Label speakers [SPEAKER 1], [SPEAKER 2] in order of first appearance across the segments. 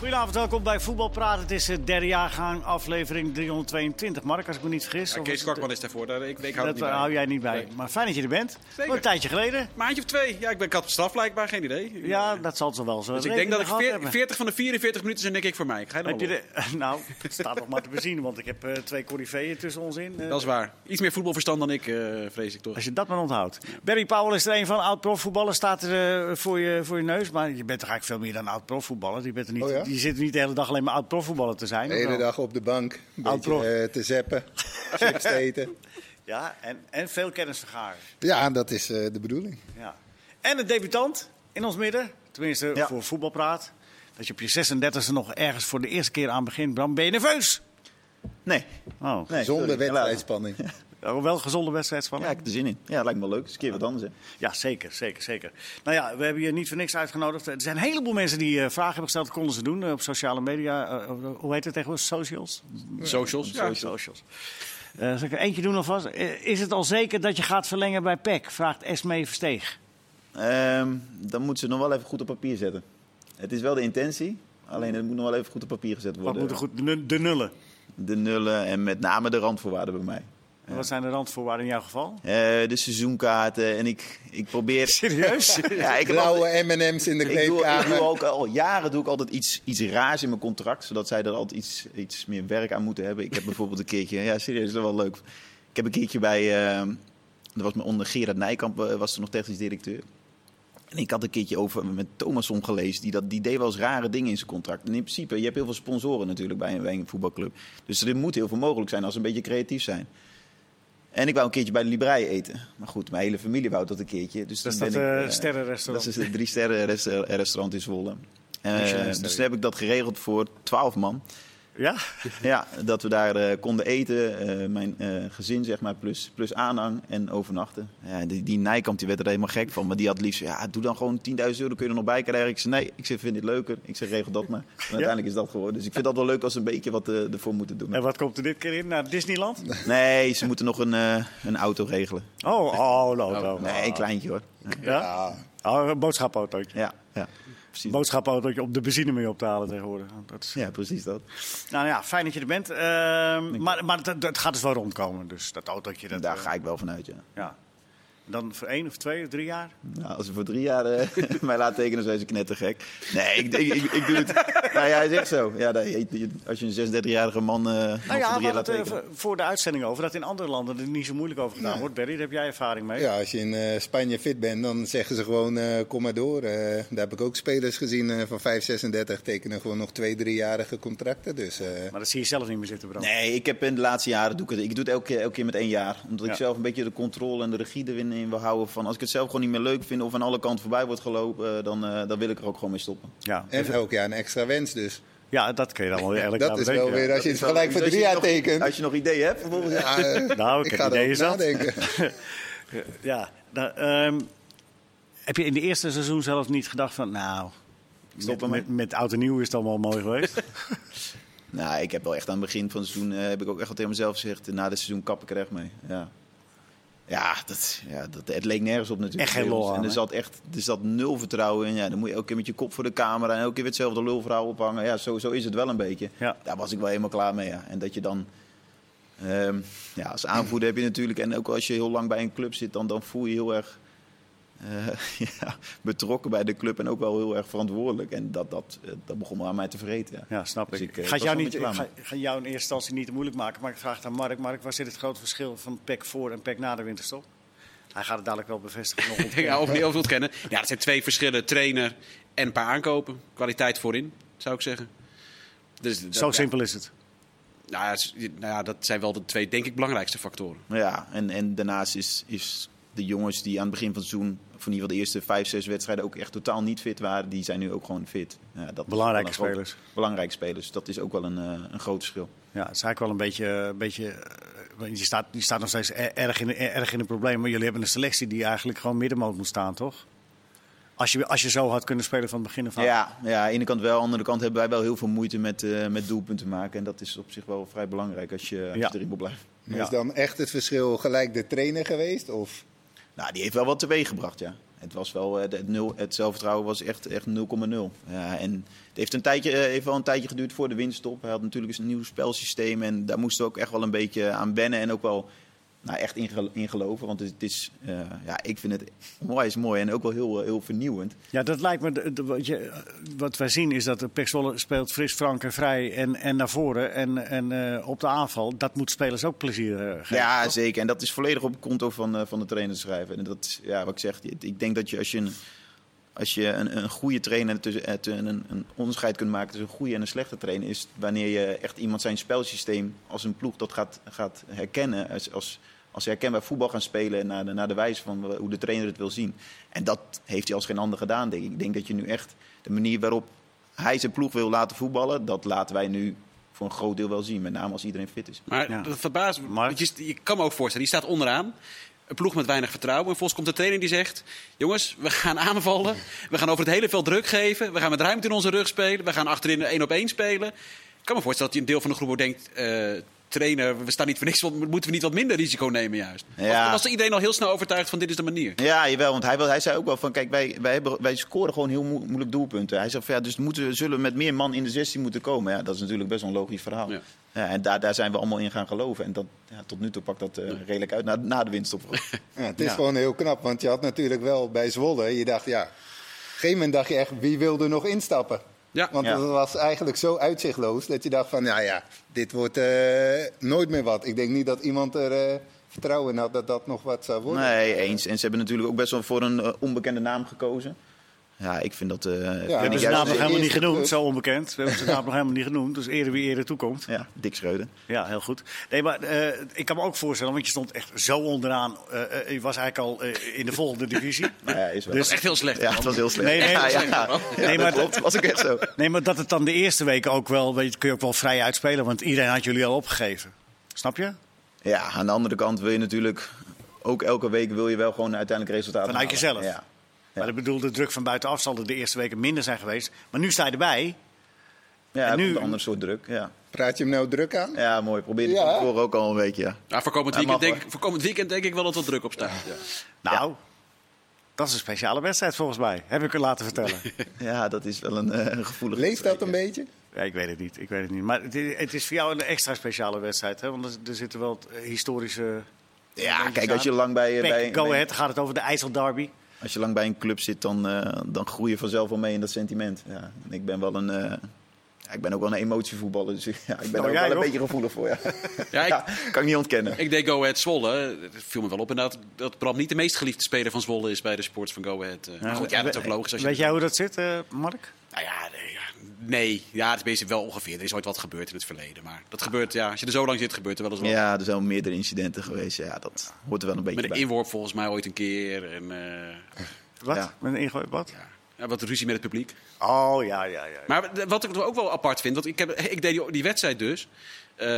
[SPEAKER 1] Goedenavond, welkom bij Voetbal Praten. Het is de derde jaargang, aflevering 322. Mark, als ik me niet vergis.
[SPEAKER 2] Ja,
[SPEAKER 1] Of
[SPEAKER 2] Kees
[SPEAKER 1] is het-
[SPEAKER 2] Kwakman is daarvoor, daar, ik, ik hou
[SPEAKER 1] Dat
[SPEAKER 2] het niet bij.
[SPEAKER 1] hou jij niet bij.
[SPEAKER 2] Nee.
[SPEAKER 1] Maar fijn dat je er bent.
[SPEAKER 2] Zeker.
[SPEAKER 1] Een tijdje geleden.
[SPEAKER 2] Maandje of twee? Ja, ik ben kat op straf blijkbaar, geen idee.
[SPEAKER 1] Ja, dat zal zo wel zo.
[SPEAKER 2] dus ik denk dat ik veer- 40 van de 44 minuten zijn denk ik voor mij. Ik Ga je dan
[SPEAKER 1] Heb je
[SPEAKER 2] wel op.
[SPEAKER 1] de, nou, het staat nog maar te bezien, want ik heb eh, twee coryfeeën tussen ons in. Eh,
[SPEAKER 2] Dat is waar. Iets meer voetbalverstand dan ik, eh, vrees ik toch.
[SPEAKER 1] Als je dat maar onthoudt. Barry Powell is er een van. Oud-profvoetballer staat er eh, voor, je, voor je neus. Maar je bent toch eigenlijk veel meer dan oud-profvoetballer. Je, bent er niet,
[SPEAKER 3] Oh ja?
[SPEAKER 1] je zit er niet de hele dag alleen maar oud-profvoetballer te zijn.
[SPEAKER 3] De
[SPEAKER 1] of
[SPEAKER 3] hele
[SPEAKER 1] wel?
[SPEAKER 3] dag op de bank, een
[SPEAKER 1] Oud
[SPEAKER 3] beetje
[SPEAKER 1] prof.
[SPEAKER 3] eh, te zeppen, chips te eten.
[SPEAKER 1] Ja, en, en veel kennis vergaren.
[SPEAKER 3] Ja, dat is eh, de bedoeling.
[SPEAKER 1] Ja. En een debutant in ons midden. Tenminste,
[SPEAKER 3] Ja.
[SPEAKER 1] voor voetbalpraat. Dat je op je 36e nog ergens voor de eerste keer aan begint. Bram, ben je nerveus?
[SPEAKER 4] Nee.
[SPEAKER 1] Oh,
[SPEAKER 4] nee
[SPEAKER 3] Zonder
[SPEAKER 4] sorry.
[SPEAKER 3] wedstrijdspanning.
[SPEAKER 1] wel wel gezonde wedstrijdspanning.
[SPEAKER 4] Ja, ik heb er zin in. Ja, lijkt me wel leuk. Is een keer wat anders, hè.
[SPEAKER 1] Ja, zeker, zeker, zeker. Nou ja, we hebben je niet voor niks uitgenodigd. Er zijn een heleboel mensen die eh, vragen hebben gesteld. Dat konden ze doen eh, op sociale media. Eh, hoe heet het tegenwoordig? Socials?
[SPEAKER 2] Socials. Ja.
[SPEAKER 1] Socials. Eh, zal ik er eentje doen alvast? Eh, is het al zeker dat je gaat verlengen bij PEC? Vraagt Esmee Versteeg.
[SPEAKER 4] Ehm, dan moeten ze het nog wel even goed op papier zetten. Het is wel de intentie, alleen het moet nog wel even goed op papier gezet
[SPEAKER 1] Wat
[SPEAKER 4] worden.
[SPEAKER 1] moeten goed de nu- de nullen?
[SPEAKER 4] De nullen en met name de randvoorwaarden bij mij.
[SPEAKER 1] En Wat zijn de randvoorwaarden in jouw geval?
[SPEAKER 4] Eh, de seizoenkaarten en ik, ik probeer...
[SPEAKER 1] Serieus?
[SPEAKER 4] ja, ik heb altijd-
[SPEAKER 3] Blauwe M&M's in de
[SPEAKER 4] ik doe, ik doe
[SPEAKER 3] kleedkamer.
[SPEAKER 4] ook al jaren doe ik altijd iets, iets raars in mijn contract, zodat zij er altijd iets, iets meer werk aan moeten hebben. Ik heb bijvoorbeeld een keertje, ja serieus, dat is wel leuk. Ik heb een keertje bij, ehm, dat was mijn onder Gerard Nijkamp, eh, was toen nog technisch directeur. En ik had een keertje over met Thomason gelezen, die, dat, die deed wel eens rare dingen in zijn contract. En in principe, je hebt heel veel sponsoren natuurlijk bij een, bij een voetbalclub. Dus er moet heel veel mogelijk zijn als ze een beetje creatief zijn. En ik wou een keertje bij de Librei eten. Maar goed, mijn hele familie wou dat een keertje. Dus
[SPEAKER 1] Dat is
[SPEAKER 4] toen
[SPEAKER 1] dat
[SPEAKER 4] ben ik,
[SPEAKER 1] eh,
[SPEAKER 4] eh,
[SPEAKER 1] sterrenrestaurant.
[SPEAKER 4] dat is het drie sterren resta- restaurant in Zwolle. Eh,
[SPEAKER 1] Michelinster.
[SPEAKER 4] dus toen heb ik dat geregeld voor 12 man.
[SPEAKER 1] Ja?
[SPEAKER 4] Ja, dat we daar eh, konden eten, eh, mijn eh, gezin zeg maar, plus, plus aanhang en overnachten. Ja, die, die Nijkamp die werd er helemaal gek van, maar die had liefst, ja, doe dan gewoon 10.000 euro, kun je er nog bij krijgen. Ik zei, nee, ik zeg, vind dit leuker, ik zeg, regel dat maar. En uiteindelijk is dat geworden. Dus ik vind dat wel leuk als ze een beetje wat eh, ervoor moeten doen.
[SPEAKER 1] En wat komt er dit keer in? Naar Disneyland?
[SPEAKER 4] Nee, ze moeten nog een, eh, een auto regelen.
[SPEAKER 1] Oh, oh, no, no.
[SPEAKER 4] Nee, een kleintje hoor.
[SPEAKER 1] Ja? Oh, een boodschapautootje.
[SPEAKER 4] Ja, ja. Precies.
[SPEAKER 1] Boodschapautootje om de benzine mee op te halen tegenwoordig. Dat is...
[SPEAKER 4] Ja, precies dat.
[SPEAKER 1] Nou ja, fijn dat je er bent. Ehm, maar maar dat, dat gaat dus wel rondkomen, dus dat autootje. Dat,
[SPEAKER 4] Daar
[SPEAKER 1] eh,
[SPEAKER 4] ga ik wel vanuit, ja.
[SPEAKER 1] Ja. Dan voor één of twee of drie jaar?
[SPEAKER 4] Nou, als ze voor drie jaar eh, mij laat tekenen, zijn ze knettergek. Nee, ik, ik, ik, ik doe het. Nou ja, hij zegt zo. Ja, dat- je- je- als je een 36-jarige man eh nog voor
[SPEAKER 1] Nou ja,
[SPEAKER 4] drie
[SPEAKER 1] we
[SPEAKER 4] jaar
[SPEAKER 1] hadden
[SPEAKER 4] laat
[SPEAKER 1] het eh,
[SPEAKER 4] tekenen.
[SPEAKER 1] v- voor de uitzending over dat in andere landen er niet zo moeilijk over gedaan wordt. Barry, daar heb jij ervaring mee.
[SPEAKER 3] Ja, als je in eh, Spanje fit bent, dan zeggen ze gewoon eh, kom maar door. Eh, daar heb ik ook spelers gezien eh, van 5, 36 tekenen gewoon nog twee, driejarige contracten. Dus eh,
[SPEAKER 1] Maar dat zie je zelf niet meer zitten, Bram.
[SPEAKER 4] Nee, ik heb in de laatste jaren doe ik het. Ik doe het elke keer, elke keer met één jaar. Omdat
[SPEAKER 1] Ja.
[SPEAKER 4] ik zelf een beetje de controle en de regie erin in wil houden. Van als ik het zelf gewoon niet meer leuk vind of aan alle kanten voorbij wordt gelopen, eh, dan, eh, dan wil ik er ook gewoon mee stoppen.
[SPEAKER 1] Ja,
[SPEAKER 4] dus-
[SPEAKER 3] en elk jaar een extra wens dus.
[SPEAKER 1] ja, dat kun je dan wel weer elk
[SPEAKER 3] Dat
[SPEAKER 1] jaar
[SPEAKER 3] is
[SPEAKER 1] bedenken, ja.
[SPEAKER 3] wel weer, eh, als je het
[SPEAKER 4] Dus
[SPEAKER 3] gelijk
[SPEAKER 4] als
[SPEAKER 3] voor
[SPEAKER 4] je
[SPEAKER 3] drie jaar
[SPEAKER 4] nog-
[SPEAKER 3] tekent.
[SPEAKER 4] Als je nog ideeën hebt, bijvoorbeeld.
[SPEAKER 3] Ja, eh,
[SPEAKER 1] Nou, ik,
[SPEAKER 3] ik
[SPEAKER 1] heb
[SPEAKER 3] ga
[SPEAKER 1] idee
[SPEAKER 3] erover
[SPEAKER 1] is dat.
[SPEAKER 3] nadenken.
[SPEAKER 1] ja, nou, ehm, heb je in de eerste seizoen zelf niet gedacht van, nou,
[SPEAKER 4] stop
[SPEAKER 1] met,
[SPEAKER 4] ermee.
[SPEAKER 1] met, met oud en nieuw is het allemaal mooi geweest?
[SPEAKER 4] Nou, ik heb wel echt aan het begin van het seizoen eh, heb ik ook echt wel tegen mezelf gezegd. eh, Na dit seizoen kap ik er echt mee. Ja, ja, dat, ja dat, het leek nergens op natuurlijk.
[SPEAKER 1] Echt geen lol aan,
[SPEAKER 4] En
[SPEAKER 1] hè?
[SPEAKER 4] er zat echt er zat nul vertrouwen in. Ja, dan moet je elke keer met je kop voor de camera en elke keer weer hetzelfde lulverhaal ophangen. Ja, zo, zo is het wel een beetje.
[SPEAKER 1] Ja.
[SPEAKER 4] Daar was ik wel helemaal klaar mee. Ja. En dat je dan. ehm, ja, als aanvoerder heb je natuurlijk. En ook als je heel lang bij een club zit, dan, dan voel je je heel erg. eh, ja, betrokken bij de club en ook wel heel erg verantwoordelijk. En dat, dat, eh, dat begon wel aan mij te vreten. Ja.
[SPEAKER 1] Ja, snap
[SPEAKER 4] Dus
[SPEAKER 1] ik.
[SPEAKER 4] ik, eh,
[SPEAKER 1] ik ga het
[SPEAKER 4] was
[SPEAKER 1] jou,
[SPEAKER 4] wel een
[SPEAKER 1] niet, ik
[SPEAKER 4] beetje
[SPEAKER 1] ga,
[SPEAKER 4] klaar
[SPEAKER 1] ik ga jou in eerste instantie niet te moeilijk maken, maar ik vraag het aan Mark. Mark, waar zit het grote verschil van PEC voor en PEC na de winterstop? Hij gaat het dadelijk wel bevestigen. nog ontkennen.
[SPEAKER 2] Ja, of niet over kennen. Ja, dat zijn twee verschillen. Trainer en een paar aankopen. Kwaliteit voorin, zou ik zeggen. Dus dat-
[SPEAKER 1] Zo
[SPEAKER 2] ja.
[SPEAKER 1] simpel is het.
[SPEAKER 2] Nou ja, s- nou ja, dat zijn wel de twee, denk ik, belangrijkste factoren.
[SPEAKER 4] Ja, en, en daarnaast is, is de jongens die aan het begin van het seizoen, of in ieder geval de eerste vijf, zes wedstrijden, ook echt totaal niet fit waren, die zijn nu ook gewoon fit. Ja, dat is
[SPEAKER 1] Belangrijke
[SPEAKER 4] wel een groot-
[SPEAKER 1] spelers.
[SPEAKER 4] belangrijke spelers, dat is ook wel een, eh, een groot verschil.
[SPEAKER 1] Ja, het is eigenlijk wel een beetje. Een beetje eh, want je, staat, je staat nog steeds er- erg in, de- er- erg in de problemen. Maar jullie hebben een selectie die eigenlijk gewoon middenmoot moet staan, toch? Als je, als je zo had kunnen spelen van het begin af aan.
[SPEAKER 4] Ja, ja, aan de ene kant wel, aan de andere kant hebben wij wel heel veel moeite met, eh, met doelpunten maken. En dat is op zich wel vrij belangrijk als je, als je
[SPEAKER 1] Ja.
[SPEAKER 4] erin wil blijven.
[SPEAKER 3] Is dan echt het verschil gelijk de trainer geweest? Of
[SPEAKER 4] Nou, die heeft wel wat teweeg gebracht, ja. Het was wel, eh, de- het, nul, het zelfvertrouwen was echt, echt 0,0. Ja, en het heeft, een tijdje, eh, heeft wel een tijdje geduurd voor de winststop. Hij had natuurlijk een nieuw spelsysteem en daar moesten we ook echt wel een beetje aan wennen. En ook wel nou, echt in, gel- in geloven, want het is, eh, ja, ik vind het onwijs mooi en ook wel heel, eh, heel vernieuwend.
[SPEAKER 1] Ja, dat lijkt me. de- de- wat je- Wat wij zien is dat de Pek Zwolle speelt fris, frank en vrij en, en naar voren en, en eh, op de aanval. Dat moet spelers ook plezier eh, geven.
[SPEAKER 4] Ja, zeker. En dat is volledig op het konto van, eh, van de trainer te schrijven. En dat is, ja, wat ik zeg, ik- ik denk dat je als je een, als je een, een goede trainer tussen, eh, tussen- een, een onderscheid kunt maken tussen een goede en een slechte trainer, is wanneer je echt iemand zijn spelsysteem als een ploeg dat gaat, gaat herkennen. Als, als, als ze herkenbaar voetbal gaan spelen naar de, naar de wijze van hoe de trainer het wil zien. En dat heeft hij als geen ander gedaan, denk ik. Ik denk dat je nu echt de manier waarop hij zijn ploeg wil laten voetballen, dat laten wij nu voor een groot deel wel zien. Met name als iedereen fit is.
[SPEAKER 2] Maar
[SPEAKER 1] Ja.
[SPEAKER 2] dat verbaast me.
[SPEAKER 1] Maar-
[SPEAKER 2] Want Je, je kan me ook voorstellen, die staat onderaan. Een ploeg met weinig vertrouwen. En volgens komt de trainer die zegt... jongens, we gaan aanvallen. We gaan over het hele veld druk geven. We gaan met ruimte in onze rug spelen. We gaan achterin één op één spelen. Ik kan me voorstellen dat je een deel van de groep ook denkt... eh, trainer, we staan niet voor niks. want Moeten we niet wat minder risico nemen juist?
[SPEAKER 4] Ja.
[SPEAKER 2] Of was iedereen al heel snel overtuigd van dit is de manier?
[SPEAKER 4] Ja, jawel, want hij, wil- hij zei ook wel van, kijk, wij, wij, hebben, wij scoren gewoon heel moe- moeilijk doelpunten. Hij zegt van, ja, dus moeten, we- zullen we met meer man in de 16 moeten komen. Ja, dat is natuurlijk best wel een logisch verhaal.
[SPEAKER 2] Ja.
[SPEAKER 4] Ja. en daar, daar zijn we allemaal in gaan geloven. En dat, ja, tot nu toe pakt dat eh, redelijk uit na, na de winst op.
[SPEAKER 3] Ja, het is gewoon heel knap, want je had natuurlijk wel bij Zwolle, je dacht ja, op een gegeven moment dacht je echt, wie wil er nog instappen?
[SPEAKER 2] Ja.
[SPEAKER 3] Want
[SPEAKER 4] Ja.
[SPEAKER 3] het was eigenlijk zo uitzichtloos dat je dacht van, nou ja, dit wordt eh, nooit meer wat. Ik denk niet dat iemand er eh, vertrouwen in had dat dat nog wat zou worden.
[SPEAKER 4] nee, eens. En ze hebben natuurlijk ook best wel voor een eh, onbekende naam gekozen. Ja, ik vind dat... eh, vind
[SPEAKER 1] We
[SPEAKER 4] ik
[SPEAKER 1] hebben
[SPEAKER 3] Ja,
[SPEAKER 1] ze
[SPEAKER 4] juist-
[SPEAKER 1] naam nog helemaal niet
[SPEAKER 3] eerste
[SPEAKER 1] genoemd,
[SPEAKER 3] club.
[SPEAKER 1] zo onbekend. We hebben ze naam nog helemaal niet genoemd, dus ere wie ere toekomt.
[SPEAKER 4] Ja, Dick Schreuder.
[SPEAKER 1] Ja, heel goed. Nee, maar eh, ik kan me ook voorstellen, want je stond echt zo onderaan. Eh, eh, je was eigenlijk al eh, in de volgende divisie.
[SPEAKER 4] Nou ja, is wel.
[SPEAKER 1] Dus-
[SPEAKER 2] Dat is echt heel slecht.
[SPEAKER 4] ja, het was heel slecht.
[SPEAKER 1] Nee, nee,
[SPEAKER 4] ja,
[SPEAKER 1] dat
[SPEAKER 4] ja,
[SPEAKER 2] is-
[SPEAKER 4] ja.
[SPEAKER 2] Nee,
[SPEAKER 4] Ja, dat
[SPEAKER 1] maar-
[SPEAKER 4] klopt. was ook echt zo.
[SPEAKER 1] Nee, maar dat het dan de eerste weken ook wel, weet je, kun je ook wel vrij uitspelen, want iedereen had jullie al opgegeven. Snap je?
[SPEAKER 4] Ja, aan de andere kant wil je natuurlijk ook elke week wil je wel gewoon uiteindelijk resultaten
[SPEAKER 1] Vanuit
[SPEAKER 4] halen.
[SPEAKER 1] jezelf.
[SPEAKER 4] Ja.
[SPEAKER 1] Maar ik bedoel, de druk van buitenaf zal er de eerste weken minder zijn geweest. Maar nu sta je erbij.
[SPEAKER 4] Ja,
[SPEAKER 1] En nu-
[SPEAKER 4] nu... een ander soort druk. Ja,
[SPEAKER 3] Praat je hem nou druk aan?
[SPEAKER 4] ja mooi. Probeer het
[SPEAKER 3] Ja,
[SPEAKER 4] van
[SPEAKER 3] hè?
[SPEAKER 4] tevoren ook al een beetje. Ja.
[SPEAKER 2] Ja, Nou, voor, komend
[SPEAKER 4] Ja,
[SPEAKER 2] weekend
[SPEAKER 4] mag,
[SPEAKER 2] denk, ik- voor komend weekend denk ik wel dat er druk op staat. Ja.
[SPEAKER 1] Nou, dat is een speciale wedstrijd volgens mij. Heb ik u laten vertellen.
[SPEAKER 4] ja, dat is wel een, eh, een gevoelig.
[SPEAKER 3] Leeft dat een
[SPEAKER 4] beetje?
[SPEAKER 3] beetje?
[SPEAKER 1] ja, ik weet het niet. Ik weet het niet. Maar het is, het is voor jou een extra speciale wedstrijd. Hè? Want er, er zitten wel eh, historische...
[SPEAKER 4] Ja, kijk, als je lang bij, eh,
[SPEAKER 1] Pek,
[SPEAKER 4] bij,
[SPEAKER 1] go
[SPEAKER 4] bij-
[SPEAKER 1] ahead, gaat het over de IJsselderby.
[SPEAKER 4] als je lang bij een club zit, dan, eh, dan groei je vanzelf wel mee in dat sentiment. Ja. En ik ben wel een. eh, ja, ik ben ook wel een emotievoetballer, dus ja, ik ben
[SPEAKER 1] Nou,
[SPEAKER 4] er ook
[SPEAKER 1] jij
[SPEAKER 4] wel een
[SPEAKER 1] nog?
[SPEAKER 4] beetje gevoelig voor. Ja.
[SPEAKER 2] Ja, ik-
[SPEAKER 4] Ja, kan ik niet ontkennen.
[SPEAKER 2] Ik deed Go Ahead Zwolle. Het viel me wel op inderdaad dat Bram niet de meest geliefde speler van Zwolle is bij de sports van Go Ahead. Eh, maar goed, ja, dat is ook logisch. Als je
[SPEAKER 1] Weet jij hoe dat zit, eh, Mark?
[SPEAKER 2] Nou ja, nee, ja, nee. Ja, het is wel ongeveer. Er is ooit wat gebeurd in het verleden. Maar dat gebeurt, ja, als je er zo lang zit, gebeurt er wel eens wat.
[SPEAKER 4] Ja, er zijn wel meerdere incidenten geweest. Ja, dat hoort er wel een beetje
[SPEAKER 2] Met een
[SPEAKER 4] bij.
[SPEAKER 2] inworp volgens mij ooit een keer. En eh,
[SPEAKER 1] Wat?
[SPEAKER 4] Ja.
[SPEAKER 1] Met een ingooi, wat?
[SPEAKER 2] ja, wat ruzie met het publiek.
[SPEAKER 1] Oh, ja, ja, ja.
[SPEAKER 2] Maar wat ik ook wel apart vind, want ik, heb, ik deed die, die wedstrijd dus, eh,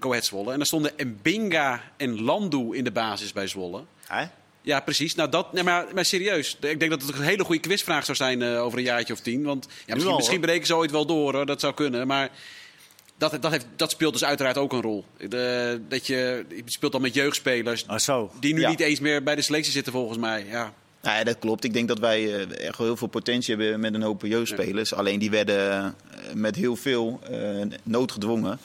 [SPEAKER 2] Go Ahead Zwolle. En daar stonden Mbinga en Landoe in de basis bij Zwolle.
[SPEAKER 1] Hè?
[SPEAKER 2] Ja, precies. Nou, dat, nee, maar, maar serieus. Ik denk dat het een hele goede quizvraag zou zijn eh, over een jaartje of tien. Want ja, misschien,
[SPEAKER 1] al,
[SPEAKER 2] misschien
[SPEAKER 1] hoor.
[SPEAKER 2] breken ze ooit wel door, hoor. dat zou kunnen. Maar dat, dat, heeft, dat speelt dus uiteraard ook een rol. De- dat je, je speelt dan met jeugdspelers
[SPEAKER 1] Ah, zo.
[SPEAKER 2] die nu
[SPEAKER 4] Ja.
[SPEAKER 2] niet eens meer bij de selectie zitten, volgens mij. Ja.
[SPEAKER 4] Nou ja, dat klopt. Ik denk dat wij eh, echt wel heel veel potentie hebben met een hoop jeugdspelers. Alleen die werden eh, met heel veel eh, noodgedwongen.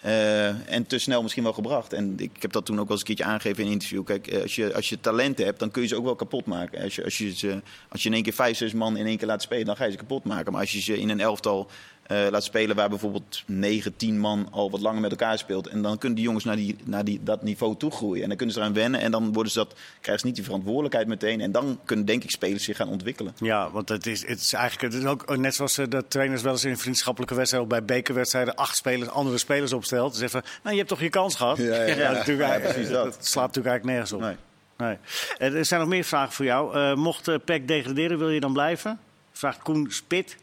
[SPEAKER 4] eh, en te snel misschien wel gebracht. En ik heb dat toen ook wel eens een keertje aangegeven in een interview. Kijk, eh, als je, als je talenten hebt, dan kun je ze ook wel kapot maken. Als je, als je, ze, als je in één keer vijf, zes man in één keer laat spelen, dan ga je ze kapot maken. Maar als je ze in een elftal eh, laat spelen waar bijvoorbeeld negen, tien man al wat langer met elkaar speelt. En dan kunnen die jongens naar, die, naar die, dat niveau toe groeien. En dan kunnen ze eraan wennen. En dan worden ze dat, krijgen ze niet die verantwoordelijkheid meteen. En dan kunnen, denk ik, spelers zich gaan ontwikkelen.
[SPEAKER 1] Ja, want het is, het is eigenlijk het is ook net zoals eh, dat trainers wel eens in vriendschappelijke wedstrijden of bij bekerwedstrijden acht spelers, andere spelers opstelt. Ze zeggen, van, nou je hebt toch je kans gehad?
[SPEAKER 3] Ja, ja, ja.
[SPEAKER 1] natuurlijk,
[SPEAKER 4] Ja,
[SPEAKER 1] eh,
[SPEAKER 4] precies dat.
[SPEAKER 1] slaat natuurlijk eigenlijk nergens op.
[SPEAKER 4] Nee.
[SPEAKER 1] Nee. Eh, Er zijn nog meer vragen voor jou. Eh, mocht eh PEC degraderen, wil je dan blijven? Vraagt Koen Spit.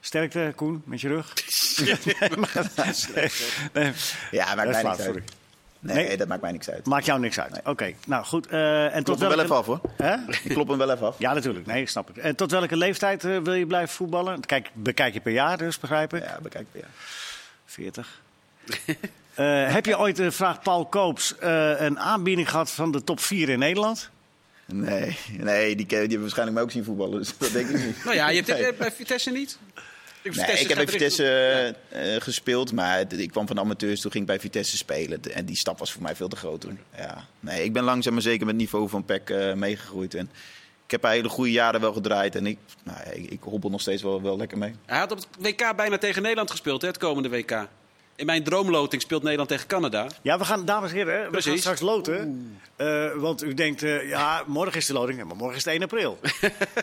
[SPEAKER 1] Sterkte, Koen, met je rug. nee, maar- nee, nee.
[SPEAKER 4] Ja,
[SPEAKER 1] Dat is
[SPEAKER 4] maakt mij
[SPEAKER 1] waar,
[SPEAKER 4] niks
[SPEAKER 1] sorry.
[SPEAKER 4] uit. Nee,
[SPEAKER 1] Nee.
[SPEAKER 4] dat maakt mij niks uit.
[SPEAKER 1] Maakt jou niks uit. Oké, nou goed. eh, en
[SPEAKER 4] Klopt
[SPEAKER 1] tot
[SPEAKER 4] hem wel
[SPEAKER 1] welke-
[SPEAKER 4] even af hoor.
[SPEAKER 1] Hè?
[SPEAKER 4] Ik klop hem wel even af.
[SPEAKER 1] Ja, natuurlijk. Nee, ik snap het. En tot welke leeftijd eh, wil je blijven voetballen? Kijk, bekijk je per jaar dus, begrijp ik.
[SPEAKER 4] Ja, bekijk. Ja.
[SPEAKER 1] 40. Eh, heb je ooit, eh, vraagt Paul Koops, eh, een aanbieding gehad van de top 4 in Nederland?
[SPEAKER 4] Nee, nee die, ken- die hebben waarschijnlijk mij ook zien voetballen. Dus dat denk ik niet.
[SPEAKER 2] Nou ja, je hebt dit
[SPEAKER 4] Nee.
[SPEAKER 2] bij- bij Vitesse niet.
[SPEAKER 4] Nee, ik heb bij
[SPEAKER 2] gaat richting-
[SPEAKER 4] Vitesse eh, eh, gespeeld, maar het- ik kwam van amateurs, toen ging ik bij Vitesse spelen. En die stap was voor mij veel te groot toen. Ja. Nee, ik ben langzaam maar zeker met het niveau van PEC eh, meegegroeid. En ik heb hele goede jaren wel gedraaid en ik, nou, ja, ik, ik hobbel nog steeds wel, wel lekker mee.
[SPEAKER 2] Hij had op het WK bijna tegen Nederland gespeeld, hè, het komende WK. In mijn droomloting speelt Nederland tegen Canada.
[SPEAKER 1] Ja, we gaan, dames en heren, we
[SPEAKER 2] Precies.
[SPEAKER 1] gaan straks loten. Eh, want u denkt, eh, ja, morgen is de loting. Ja, maar morgen is het 1 april.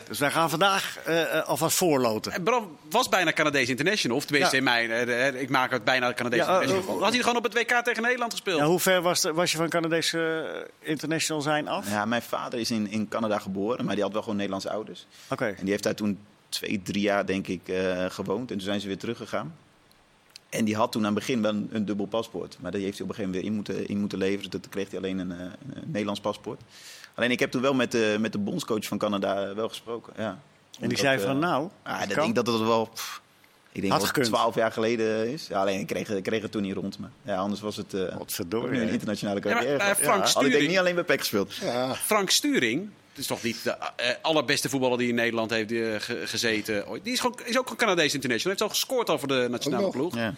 [SPEAKER 1] dus wij gaan vandaag eh, eh, alvast voorloten.
[SPEAKER 2] En Bram was bijna Canadees international. Of tenminste,
[SPEAKER 1] Ja.
[SPEAKER 2] in mijn, eh, eh, ik maak het bijna Canadees
[SPEAKER 1] Ja, eh,
[SPEAKER 2] international.
[SPEAKER 1] eh,
[SPEAKER 2] Had hij gewoon op het WK tegen Nederland gespeeld?
[SPEAKER 1] Ja, hoe ver was, de- was je van Canadese eh, international zijn af?
[SPEAKER 4] Ja, mijn vader is in, in Canada geboren, maar die had wel gewoon Nederlandse ouders.
[SPEAKER 1] Oké.
[SPEAKER 4] En die heeft daar toen twee, drie jaar, denk ik, eh, gewoond. En toen zijn ze weer teruggegaan. En die had toen aan het begin wel een, een dubbel paspoort. Maar die heeft hij op een gegeven moment weer in moeten, in moeten leveren. Toen kreeg hij alleen een, eh, een Nederlands paspoort. Alleen ik heb toen wel met, de met de bondscoach van Canada eh, wel gesproken. Ja.
[SPEAKER 1] En die
[SPEAKER 4] Omdat,
[SPEAKER 1] zei
[SPEAKER 4] eh,
[SPEAKER 1] van, nou,
[SPEAKER 4] ah,
[SPEAKER 1] dat
[SPEAKER 4] ik
[SPEAKER 1] kan.
[SPEAKER 4] denk dat het wel pff, ik denk
[SPEAKER 1] Had
[SPEAKER 4] wel
[SPEAKER 1] gekund.
[SPEAKER 4] 12 jaar geleden is. Ja, alleen ik kreeg, ik kreeg het toen niet rond. Maar ja, anders was het eh,
[SPEAKER 1] Godverdomme.
[SPEAKER 4] ook nu een internationale
[SPEAKER 2] Ja, maar,
[SPEAKER 4] carrière.
[SPEAKER 2] eh, Frank
[SPEAKER 4] had ik denk
[SPEAKER 2] Sturing-
[SPEAKER 4] niet alleen bij PEC gespeeld.
[SPEAKER 3] Ja,
[SPEAKER 2] Frank Sturing, het is toch niet de eh, allerbeste voetballer die in Nederland heeft eh, ge- gezeten. ooit. Die is, gewoon, is ook een Canadees international. Heeft al gescoord al voor de nationale
[SPEAKER 3] Ook nog.
[SPEAKER 2] ploeg.
[SPEAKER 4] Ja.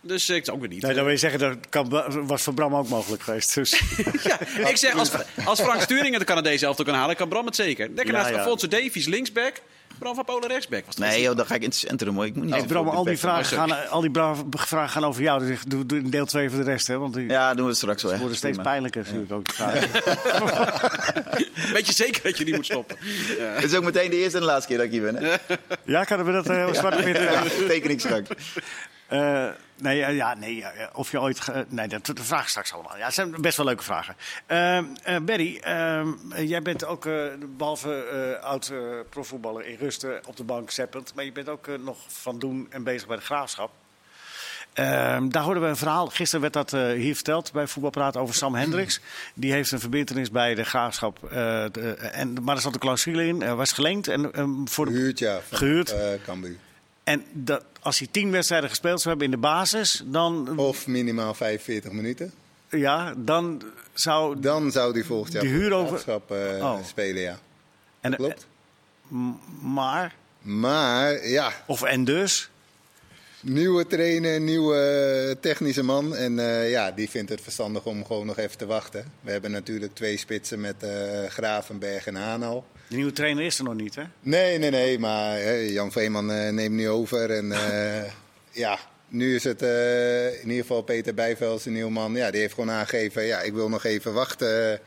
[SPEAKER 2] Dus eh, ik zou ook weer niet.
[SPEAKER 1] Nee, dan wil je zeggen, dat kan, was voor Bram ook mogelijk geweest. Dus.
[SPEAKER 2] Ja, ik zeg, als, als Frank Sturing het Canadees elftal kan halen, kan Bram het zeker. Lekker
[SPEAKER 1] Ja,
[SPEAKER 2] naast
[SPEAKER 1] ja.
[SPEAKER 2] Alfonso Davies linksback, Bram van Polen rechtsback. Was het
[SPEAKER 4] Nee, joh, dan ga ik in het centrum hoor. Ik moet niet
[SPEAKER 1] Hey,
[SPEAKER 4] zoveel
[SPEAKER 1] Bram,
[SPEAKER 4] op
[SPEAKER 1] al die,
[SPEAKER 4] PEC gaan.
[SPEAKER 1] vragen gaan, eh, al die bra- vragen gaan over jou. Dus doe, doe in deel 2 voor de rest, hè? Want die
[SPEAKER 4] Ja, doen we het straks wel. hè.
[SPEAKER 1] worden steeds
[SPEAKER 4] Prima.
[SPEAKER 1] pijnlijker, natuurlijk ook. die vragen.
[SPEAKER 2] Weet je zeker dat je niet moet stoppen? Ja.
[SPEAKER 4] Het is ook meteen de eerste en de laatste keer dat ik hier ben. Hè?
[SPEAKER 1] ja, kan we dat eh, heel zwart op wit, eh,
[SPEAKER 4] Ja, teken ik straks.
[SPEAKER 1] Eh, nee, ja, ja, nee, ja, ja, of je ooit. ge- eh, nee, dat de vraag straks allemaal. Ja, het zijn best wel leuke vragen. Ehm eh, Barry, ehm, eh, jij bent ook, eh, behalve eh, oud eh, profvoetballer in rusten op de bank zeppend, maar je bent ook eh, nog van doen en bezig bij de graafschap. Ehm, daar hoorden we een verhaal. Gisteren werd dat eh, hier verteld bij Voetbalpraat over Sam Hendricks. Die heeft een verbintenis bij de graafschap. eh, de- en, maar er zat een clausule in. eh, was geleend en ehm, voor de
[SPEAKER 3] gehuurd ja. van,
[SPEAKER 1] Gehuurd.
[SPEAKER 3] eh, Cambuur.
[SPEAKER 1] en dat, als hij tien wedstrijden gespeeld zou hebben in de basis, dan,
[SPEAKER 3] Of minimaal 45 minuten.
[SPEAKER 1] ja, dan zou.
[SPEAKER 3] Dan zou die volgend jaar
[SPEAKER 1] Die
[SPEAKER 3] voor de
[SPEAKER 1] huur over-
[SPEAKER 3] graafschap, eh,
[SPEAKER 1] Oh.
[SPEAKER 3] spelen, ja.
[SPEAKER 1] en,
[SPEAKER 3] Klopt.
[SPEAKER 1] m- Maar,
[SPEAKER 3] Maar ja,
[SPEAKER 1] of en dus.
[SPEAKER 3] Nieuwe trainer, nieuwe technische man. En eh, ja, die vindt het verstandig om gewoon nog even te wachten. We hebben natuurlijk twee spitsen met eh, Gravenberg en Hanal.
[SPEAKER 1] De nieuwe trainer is er nog niet, hè?
[SPEAKER 3] Nee, nee, nee, maar hè, Jan Veeman eh, neemt nu over. En eh, ja, nu is het eh, in ieder geval Peter Bijvels, een nieuwe man. Ja, die heeft gewoon aangegeven, ja, ik wil nog even wachten eh,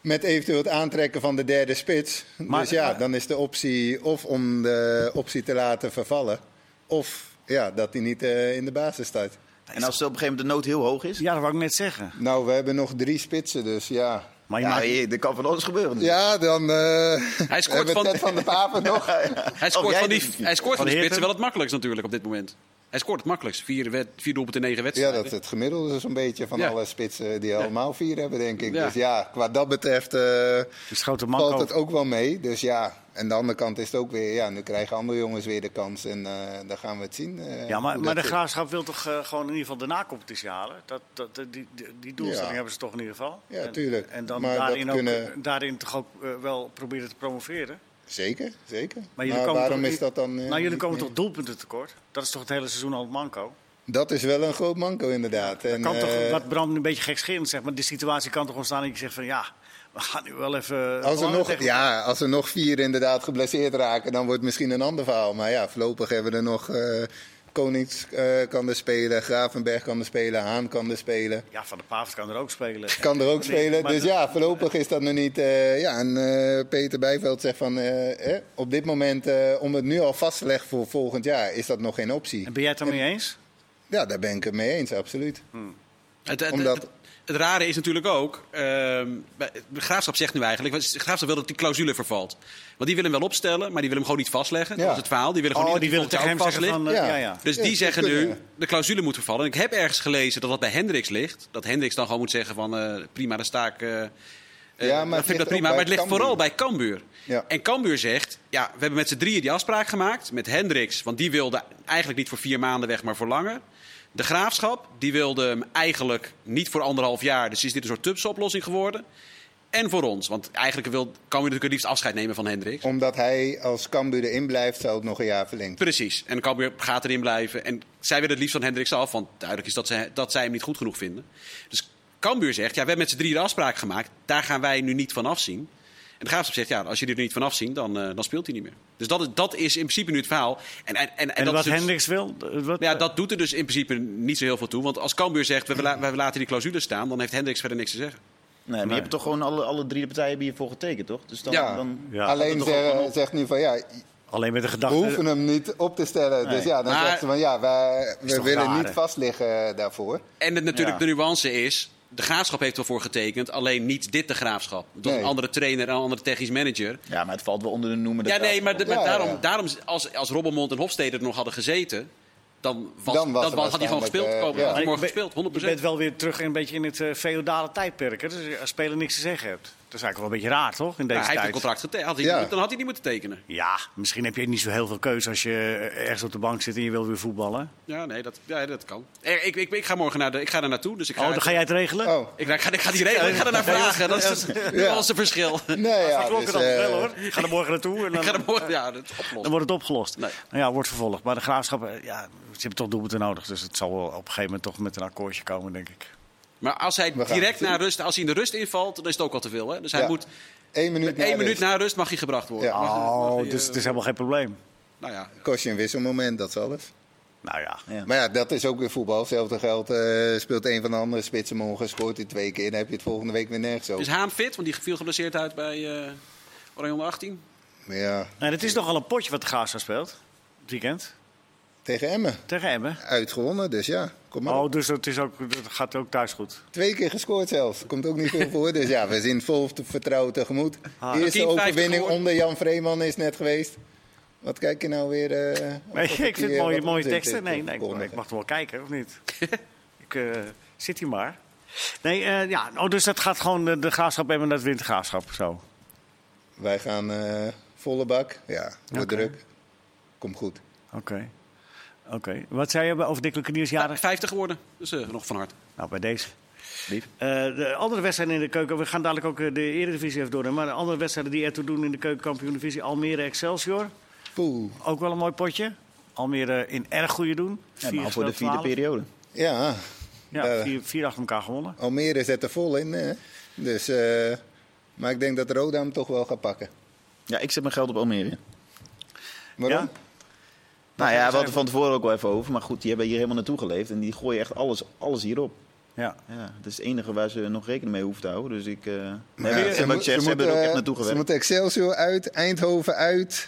[SPEAKER 3] met eventueel het aantrekken van de derde spits.
[SPEAKER 1] Maar-
[SPEAKER 3] dus ja,
[SPEAKER 1] maar-
[SPEAKER 3] dan is de optie of om de optie te laten vervallen... of ja, dat hij niet eh, in de basis staat.
[SPEAKER 4] En als op een gegeven moment de nood heel hoog is,
[SPEAKER 1] Ja, dat wou ik net zeggen.
[SPEAKER 3] Nou, we hebben nog drie spitsen, dus ja.
[SPEAKER 1] Maar je
[SPEAKER 4] ja,
[SPEAKER 1] maakt,
[SPEAKER 4] hey, er kan van alles gebeuren.
[SPEAKER 3] Ja, dan eh
[SPEAKER 2] Hij scoort
[SPEAKER 3] hebben we
[SPEAKER 2] van-
[SPEAKER 3] Ted van de Papen nog.
[SPEAKER 2] Hij
[SPEAKER 4] Of
[SPEAKER 3] Oh,
[SPEAKER 2] scoort
[SPEAKER 4] jij
[SPEAKER 2] van die,
[SPEAKER 4] doet het niet.
[SPEAKER 2] hij scoort van
[SPEAKER 1] Van
[SPEAKER 2] die spitsen
[SPEAKER 1] Heerten?
[SPEAKER 2] wel het makkelijkst natuurlijk op dit moment. Hij scoort het makkelijkst. Vier, wed- vier doelpunten in negen
[SPEAKER 3] Ja,
[SPEAKER 2] wedstrijden.
[SPEAKER 3] dat is het gemiddelde is een beetje van
[SPEAKER 2] Ja.
[SPEAKER 3] alle spitsen die allemaal vier hebben, denk ik.
[SPEAKER 2] Ja.
[SPEAKER 3] Dus ja, qua dat betreft eh,
[SPEAKER 1] is grote man
[SPEAKER 3] valt het ook wel mee. Dus ja, en de andere kant is het ook weer, ja, nu krijgen andere jongens weer de kans en eh, dan gaan we het zien. eh,
[SPEAKER 1] Ja, maar,
[SPEAKER 3] hoe
[SPEAKER 1] maar de
[SPEAKER 3] dat is.
[SPEAKER 1] graafschap wil toch eh, gewoon in ieder geval de nacompetitie halen? Dat, dat, die, die, die doelstelling
[SPEAKER 3] Ja.
[SPEAKER 1] hebben ze toch in ieder geval?
[SPEAKER 3] Ja,
[SPEAKER 1] En-
[SPEAKER 3] tuurlijk.
[SPEAKER 1] En dan
[SPEAKER 3] Maar dat
[SPEAKER 1] daarin, ook,
[SPEAKER 3] kunnen-
[SPEAKER 1] daarin toch ook eh, wel proberen te promoveren?
[SPEAKER 3] Zeker, zeker.
[SPEAKER 1] Maar
[SPEAKER 3] Maar,
[SPEAKER 1] jullie komen
[SPEAKER 3] waarom
[SPEAKER 1] toch-
[SPEAKER 3] is dat dan... eh,
[SPEAKER 1] nou, jullie
[SPEAKER 3] niet
[SPEAKER 1] komen
[SPEAKER 3] meer?
[SPEAKER 1] toch doelpunten tekort? Dat is toch het hele seizoen al het manco?
[SPEAKER 3] Dat is wel een groot manco inderdaad. En,
[SPEAKER 1] Kan toch,
[SPEAKER 3] eh,
[SPEAKER 1] wat Bram een beetje gekscherend zegt, maar de situatie kan toch ontstaan dat je zegt van ja, we gaan nu wel even...
[SPEAKER 3] Als er,
[SPEAKER 1] belangen
[SPEAKER 3] nog,
[SPEAKER 1] tegen-
[SPEAKER 3] ja, als er nog vier inderdaad geblesseerd raken, dan wordt het misschien een ander verhaal. Maar ja, voorlopig hebben we er nog eh, Konings eh, kan er spelen, Gravenberg kan er spelen, Haan kan er spelen.
[SPEAKER 1] Ja, Van de Pavert kan er ook spelen.
[SPEAKER 3] Kan er ook
[SPEAKER 1] Nee,
[SPEAKER 3] spelen.
[SPEAKER 1] maar
[SPEAKER 3] Dus
[SPEAKER 1] dat-
[SPEAKER 3] ja, voorlopig is dat nog niet. eh, ja, en eh, Peter Bijveld zegt van eh, eh, op dit moment, eh, om het nu al vast te leggen voor volgend jaar, is dat nog geen optie.
[SPEAKER 1] En ben jij het daarmee eens?
[SPEAKER 3] Ja, daar ben ik het mee eens, absoluut.
[SPEAKER 2] Het, het,
[SPEAKER 3] Omdat-
[SPEAKER 2] het, het rare is natuurlijk ook, ehm, bij- de graafschap zegt nu eigenlijk, want de graafschap wil dat die clausule vervalt. Want die willen hem wel opstellen, maar die willen hem gewoon niet vastleggen.
[SPEAKER 3] Ja.
[SPEAKER 2] Dat is het verhaal. Die willen gewoon
[SPEAKER 1] Oh,
[SPEAKER 2] niet
[SPEAKER 1] die
[SPEAKER 2] dat
[SPEAKER 1] willen tegen hem
[SPEAKER 2] contract
[SPEAKER 1] zeggen van...
[SPEAKER 3] ligt.
[SPEAKER 1] eh, ja,
[SPEAKER 3] Ja.
[SPEAKER 1] ja.
[SPEAKER 2] Dus
[SPEAKER 3] Ja,
[SPEAKER 2] die
[SPEAKER 3] dat
[SPEAKER 2] zeggen
[SPEAKER 3] zou
[SPEAKER 2] nu,
[SPEAKER 3] kunnen.
[SPEAKER 2] de clausule moet vervallen. En ik heb ergens gelezen dat dat bij Hendricks ligt. Dat Hendricks dan gewoon moet zeggen van, eh, prima, dan sta ik... eh, eh,
[SPEAKER 3] maar
[SPEAKER 2] dan
[SPEAKER 3] het
[SPEAKER 2] vind ik
[SPEAKER 3] ligt
[SPEAKER 2] dat
[SPEAKER 3] ook
[SPEAKER 2] prima.
[SPEAKER 3] bij
[SPEAKER 2] Maar het ligt
[SPEAKER 3] Cambuur.
[SPEAKER 2] vooral bij Cambuur.
[SPEAKER 3] Ja.
[SPEAKER 2] En Cambuur zegt, ja, we hebben met z'n drieën die afspraak gemaakt. Met Hendricks, want die wilde eigenlijk niet voor vier maanden weg, maar voor langer. De Graafschap, die wilde hem eigenlijk niet voor anderhalf jaar. Dus is dit een soort tubsoplossing geworden. en voor ons. Want eigenlijk wil Cambuur natuurlijk het liefst afscheid nemen van Hendricks.
[SPEAKER 3] Omdat hij als Cambuur erin blijft, zou het nog een jaar verlengd.
[SPEAKER 2] Precies. En Cambuur gaat erin blijven. En zij willen het liefst van Hendricks af, want duidelijk is dat zij, dat zij hem niet goed genoeg vinden. Dus Cambuur zegt, ja, we hebben met z'n drie de afspraak gemaakt. Daar gaan wij nu niet van afzien. En de Graafschap zegt, ja, als jullie er niet van afzien, dan, eh, dan speelt hij niet meer. Dus dat, is- dat is in principe nu het verhaal. En, en, en, en
[SPEAKER 1] En,
[SPEAKER 2] dat
[SPEAKER 1] wat
[SPEAKER 2] is het-
[SPEAKER 1] Hendricks wil? eh, Wat,
[SPEAKER 2] ja, dat doet er dus in principe niet zo heel veel toe. Want als Cambuur zegt, we, la- we laten die clausule staan, dan heeft Hendricks verder niks te zeggen.
[SPEAKER 4] maar je hebt toch gewoon alle, alle drie de partijen hebben hiervoor getekend, toch? Dus dan,
[SPEAKER 2] Ja.
[SPEAKER 4] dan
[SPEAKER 1] Ja.
[SPEAKER 3] Alleen
[SPEAKER 4] Gaat het toch
[SPEAKER 3] ze-
[SPEAKER 4] ook wel op?
[SPEAKER 3] zegt nu van ja,
[SPEAKER 1] Alleen met de
[SPEAKER 3] we
[SPEAKER 1] gedachte...
[SPEAKER 3] hoeven hem niet op te stellen.
[SPEAKER 4] Nee.
[SPEAKER 3] Dus ja, dan
[SPEAKER 2] Maar-
[SPEAKER 3] zegt ze van ja, wij, we
[SPEAKER 1] toch
[SPEAKER 3] willen
[SPEAKER 1] raar, hè?
[SPEAKER 3] niet vastliggen daarvoor.
[SPEAKER 2] En het, natuurlijk
[SPEAKER 4] Ja.
[SPEAKER 2] de nuance is, de Graafschap heeft ervoor getekend. Alleen niet dit de Graafschap. Door
[SPEAKER 3] Nee.
[SPEAKER 2] een andere trainer en een andere technisch manager.
[SPEAKER 4] Ja, maar het valt wel onder de noemer.
[SPEAKER 2] Ja, nee, maar, de- maar
[SPEAKER 3] Ja, ja, ja.
[SPEAKER 2] daarom, daarom als, als Robbenmond en Hofstede er nog hadden gezeten... Dan, was,
[SPEAKER 3] Dan was
[SPEAKER 2] dan
[SPEAKER 3] er
[SPEAKER 2] was- had hij gewoon
[SPEAKER 3] waarschijnlijk,
[SPEAKER 2] gespeeld.
[SPEAKER 3] eh,
[SPEAKER 2] komen,
[SPEAKER 3] ja.
[SPEAKER 2] had hij
[SPEAKER 1] Maar
[SPEAKER 2] morgen
[SPEAKER 1] je bent-
[SPEAKER 2] gespeeld, 100%.
[SPEAKER 1] Je bent wel weer terug een beetje in het eh, feodale tijdperk. Hè? Dus als speler niks te zeggen hebt. Dat is eigenlijk wel een beetje raar, toch? In
[SPEAKER 2] Nou,
[SPEAKER 1] deze
[SPEAKER 2] hij heeft
[SPEAKER 1] tijd.
[SPEAKER 2] een contract getekend. Had hij
[SPEAKER 3] Ja.
[SPEAKER 2] niet- Dan had hij niet moeten tekenen.
[SPEAKER 1] Ja, misschien heb je niet zo heel veel keuze als je eh, ergens op de bank zit en je wil weer voetballen.
[SPEAKER 2] Ja, nee, dat, ja, dat kan. Eh, Ik, ik, ik ga morgen naar de, ik ga daar naartoe. Dus ik ga,
[SPEAKER 1] Oh, dan ga jij het regelen?
[SPEAKER 3] Oh,
[SPEAKER 2] ik, ik ga, ik ga die regel, ik ga er naar vragen. Dat is het,
[SPEAKER 3] Ja.
[SPEAKER 2] dat is het verschil.
[SPEAKER 3] nee,
[SPEAKER 1] Ja,
[SPEAKER 3] ja, dus,
[SPEAKER 1] dan
[SPEAKER 3] eh,
[SPEAKER 1] wel hoor. Ik ga er morgen naartoe en
[SPEAKER 2] Ik ga er
[SPEAKER 1] dan,
[SPEAKER 2] morgen, ja, dat is
[SPEAKER 1] dan
[SPEAKER 2] oplossen.
[SPEAKER 1] wordt het opgelost.
[SPEAKER 2] Nee.
[SPEAKER 1] Nou ja, wordt vervolgd. Maar de graafschap, eh, ja, ze hebben toch doelpunten nodig. Dus het zal wel op een gegeven moment toch met een akkoordje komen, denk ik.
[SPEAKER 2] Maar als hij
[SPEAKER 3] gaan
[SPEAKER 2] direct naar rust, als hij in de rust invalt, dan is het ook al te veel. Hè? Dus hij
[SPEAKER 3] Ja.
[SPEAKER 2] moet
[SPEAKER 3] één minuut na
[SPEAKER 2] één
[SPEAKER 3] rust.
[SPEAKER 2] minuut na rust mag hij gebracht worden.
[SPEAKER 3] Ja.
[SPEAKER 2] Mag- mag hij,
[SPEAKER 1] Oh,
[SPEAKER 2] eh,
[SPEAKER 1] dus het is helemaal geen probleem.
[SPEAKER 2] nou ja.
[SPEAKER 3] Kost je een wisselmoment, dat is alles.
[SPEAKER 1] Nou ja.
[SPEAKER 4] Ja.
[SPEAKER 3] Maar ja, dat is ook weer voetbal. Hetzelfde geld eh, speelt een van de andere spitsen morgen, scoort hij twee keer. Dan heb je het volgende week weer nergens
[SPEAKER 1] Dus-
[SPEAKER 2] Is
[SPEAKER 3] over.
[SPEAKER 2] Haan fit? Want die viel geblesseerd uit bij eh Oranje onder 18.
[SPEAKER 3] Maar ja,
[SPEAKER 1] Nou, het is nogal een potje wat de graafschap speelt. Het weekend.
[SPEAKER 3] tegen Emmen.
[SPEAKER 1] Tegen Emmen.
[SPEAKER 3] Uitgewonnen, dus ja, kom maar. op.
[SPEAKER 1] Oh, dus dat, is ook, dat gaat ook thuis goed.
[SPEAKER 3] Twee keer gescoord zelfs. Komt ook niet veel voor. Dus ja, we zien vol te- vertrouwen tegemoet.
[SPEAKER 1] Ah,
[SPEAKER 3] Eerste
[SPEAKER 2] 10-50
[SPEAKER 3] overwinning
[SPEAKER 2] geworden.
[SPEAKER 3] onder Jan Vreeman is net geweest. Wat kijk je nou weer? eh,
[SPEAKER 1] Nee,
[SPEAKER 3] alsof
[SPEAKER 1] ik vind
[SPEAKER 3] hier
[SPEAKER 1] mooie,
[SPEAKER 3] wat
[SPEAKER 1] mooie
[SPEAKER 3] onzin
[SPEAKER 1] teksten.
[SPEAKER 3] zit
[SPEAKER 1] Nee,
[SPEAKER 3] te
[SPEAKER 1] nee, ik, mag- ik
[SPEAKER 3] verkondigen.
[SPEAKER 1] mag toch wel kijken, of niet? ik eh, zit hier maar. Nee, eh, ja, oh, dus dat gaat gewoon eh, de graafschap hebben en dat wint de graafschap. Zo.
[SPEAKER 3] Wij gaan eh, volle bak. Ja, wordt
[SPEAKER 1] Oké.
[SPEAKER 3] druk. Komt goed.
[SPEAKER 1] Oké. Oké. Wat zei je over Dick Leukeniers
[SPEAKER 2] Ja,
[SPEAKER 1] jarig?
[SPEAKER 2] 50 geworden. Dus eh, nog van harte.
[SPEAKER 1] Nou, bij deze.
[SPEAKER 4] Lief.
[SPEAKER 1] Eh, de andere wedstrijden in de keuken, we gaan dadelijk ook eh, de Eredivisie even door. Maar de andere wedstrijden die ertoe doen in de keukenkampioen divisie, Almere Excelsior.
[SPEAKER 3] Poeh.
[SPEAKER 1] Ook wel een mooi potje. Almere in erg goede doen.
[SPEAKER 4] Ja,
[SPEAKER 1] Vier
[SPEAKER 4] maar voor de
[SPEAKER 1] gespeeld, 12.
[SPEAKER 4] vierde periode.
[SPEAKER 3] Ja,
[SPEAKER 1] Ja,
[SPEAKER 3] Eh.
[SPEAKER 1] vier, vier achter elkaar gewonnen.
[SPEAKER 3] Almere zet er vol in. Hè? Dus, eh, maar ik denk dat Roda hem toch wel gaat pakken.
[SPEAKER 4] Ja, ik zet mijn geld op Almere.
[SPEAKER 3] Waarom?
[SPEAKER 1] Ja?
[SPEAKER 4] Nou ja, we
[SPEAKER 1] zijn
[SPEAKER 4] hadden van tevoren ook wel even over. Maar goed, die hebben hier helemaal naartoe geleefd. En die gooien echt alles, alles hierop.
[SPEAKER 1] Ja.
[SPEAKER 4] Ja, dat is het enige waar ze nog rekening mee hoeven te houden. Dus ik... eh ja,
[SPEAKER 3] Ja,
[SPEAKER 4] ze, hebben,
[SPEAKER 3] moet-
[SPEAKER 4] ze, hebben er
[SPEAKER 3] moeten,
[SPEAKER 4] ook echt
[SPEAKER 3] eh,
[SPEAKER 4] naartoe
[SPEAKER 3] Ze
[SPEAKER 4] gewerkt.
[SPEAKER 3] moeten Excelsior uit, Eindhoven uit,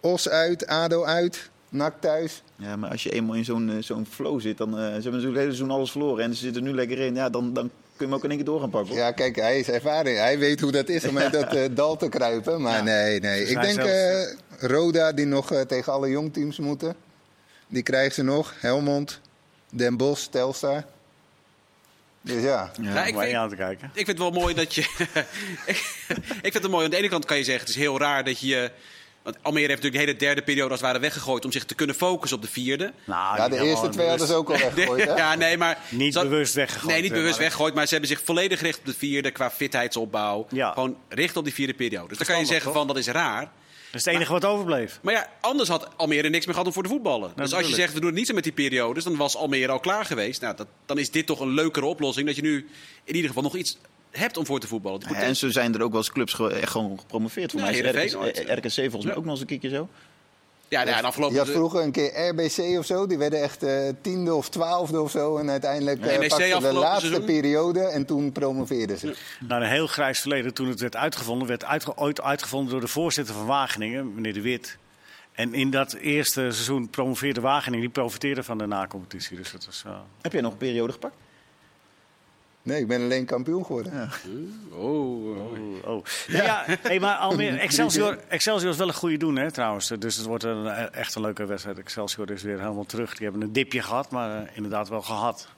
[SPEAKER 3] Os uit, ADO uit, NAC thuis.
[SPEAKER 4] Ja, maar als je eenmaal in zo'n eh, zo'n flow zit, dan... eh, ze hebben natuurlijk het hele seizoen alles verloren. En ze zitten nu lekker in. Ja, dan, dan kun je hem ook in één keer door gaan pakken. hoor.
[SPEAKER 3] Ja, kijk, hij is ervaring. Hij weet hoe dat is om uit dat eh, dal te kruipen. Maar nee, nee.
[SPEAKER 1] Dus
[SPEAKER 3] Ik
[SPEAKER 1] hij
[SPEAKER 3] denk
[SPEAKER 1] zelf-
[SPEAKER 3] eh, Roda, die nog eh, tegen alle jongteams moeten. Die krijgen ze nog. Helmond, Den Bosch, Telstar. Dus ja.
[SPEAKER 4] Ja,
[SPEAKER 2] Nou, ik,
[SPEAKER 1] Om je
[SPEAKER 2] vind,
[SPEAKER 1] aan te kijken.
[SPEAKER 2] ik vind het wel mooi dat je... ik vind het mooi. Aan de ene kant kan je zeggen, het is heel raar dat je... eh, Want Almere heeft natuurlijk de hele derde periode als het ware weggegooid... om zich te kunnen focussen op de vierde.
[SPEAKER 1] Nou,
[SPEAKER 3] ja,
[SPEAKER 1] niet
[SPEAKER 3] de
[SPEAKER 1] helemaal
[SPEAKER 3] eerste twee hadden ze
[SPEAKER 1] bewust.
[SPEAKER 3] ook al weggegooid, hè?
[SPEAKER 2] Ja, nee, maar...
[SPEAKER 1] Niet
[SPEAKER 2] Zo-
[SPEAKER 1] bewust weggegooid.
[SPEAKER 2] Nee, niet
[SPEAKER 1] eh,
[SPEAKER 2] bewust
[SPEAKER 1] maar-
[SPEAKER 2] weggooid, maar ze hebben zich volledig gericht op de vierde qua fitheidsopbouw.
[SPEAKER 1] Ja.
[SPEAKER 2] Gewoon richt op die vierde periode. Dus dan kan je
[SPEAKER 1] Verstandig,
[SPEAKER 2] zeggen
[SPEAKER 1] toch?
[SPEAKER 2] van dat is raar.
[SPEAKER 1] Dat is het enige wat overbleef.
[SPEAKER 2] Maar ja, anders had Almere niks meer gehad om voor de voetballen. dus als je
[SPEAKER 1] natuurlijk.
[SPEAKER 2] zegt we doen het niet zo met die periodes, dan was Almere al klaar geweest. Nou, dat, dan is dit toch een leukere oplossing dat je nu in ieder geval nog iets hebt om voor te voetballen.
[SPEAKER 4] Ja, en zo zijn er ook wel eens clubs ge- echt gewoon gepromoveerd. Voor
[SPEAKER 2] Ja,
[SPEAKER 4] mij is
[SPEAKER 2] Heerenveen
[SPEAKER 4] RKC,
[SPEAKER 2] ooit.
[SPEAKER 4] eh, RKC volgens mij ook nog eens een keertje zo.
[SPEAKER 2] ja, ja, en afgelopen
[SPEAKER 3] Je had vroeger een keer RBC of zo. Die werden echt eh, tiende of twaalfde of zo. En uiteindelijk eh,
[SPEAKER 2] NEC
[SPEAKER 3] pakten ze de
[SPEAKER 2] E afgelopen
[SPEAKER 3] laatste
[SPEAKER 2] seizoen.
[SPEAKER 3] periode. En toen promoveerden ze.
[SPEAKER 1] Nou, een heel grijs verleden toen het werd uitgevonden. werd uitge- ooit uitgevonden door de voorzitter van Wageningen, meneer De Wit. En in dat eerste seizoen promoveerde Wageningen. Die profiteerde van de nacompetitie. Dus dat was... eh,
[SPEAKER 4] Heb jij nog een periode gepakt?
[SPEAKER 3] Nee, ik ben alleen kampioen geworden.
[SPEAKER 2] Oh, oh.
[SPEAKER 1] Oh. Nee, ja, hey, maar Almere, Excelsior, Excelsior is wel een goede doen, hè, trouwens. Dus het wordt een, eh, echt een leuke wedstrijd. Excelsior is weer helemaal terug. Die hebben een dipje gehad, maar eh, inderdaad wel gehad.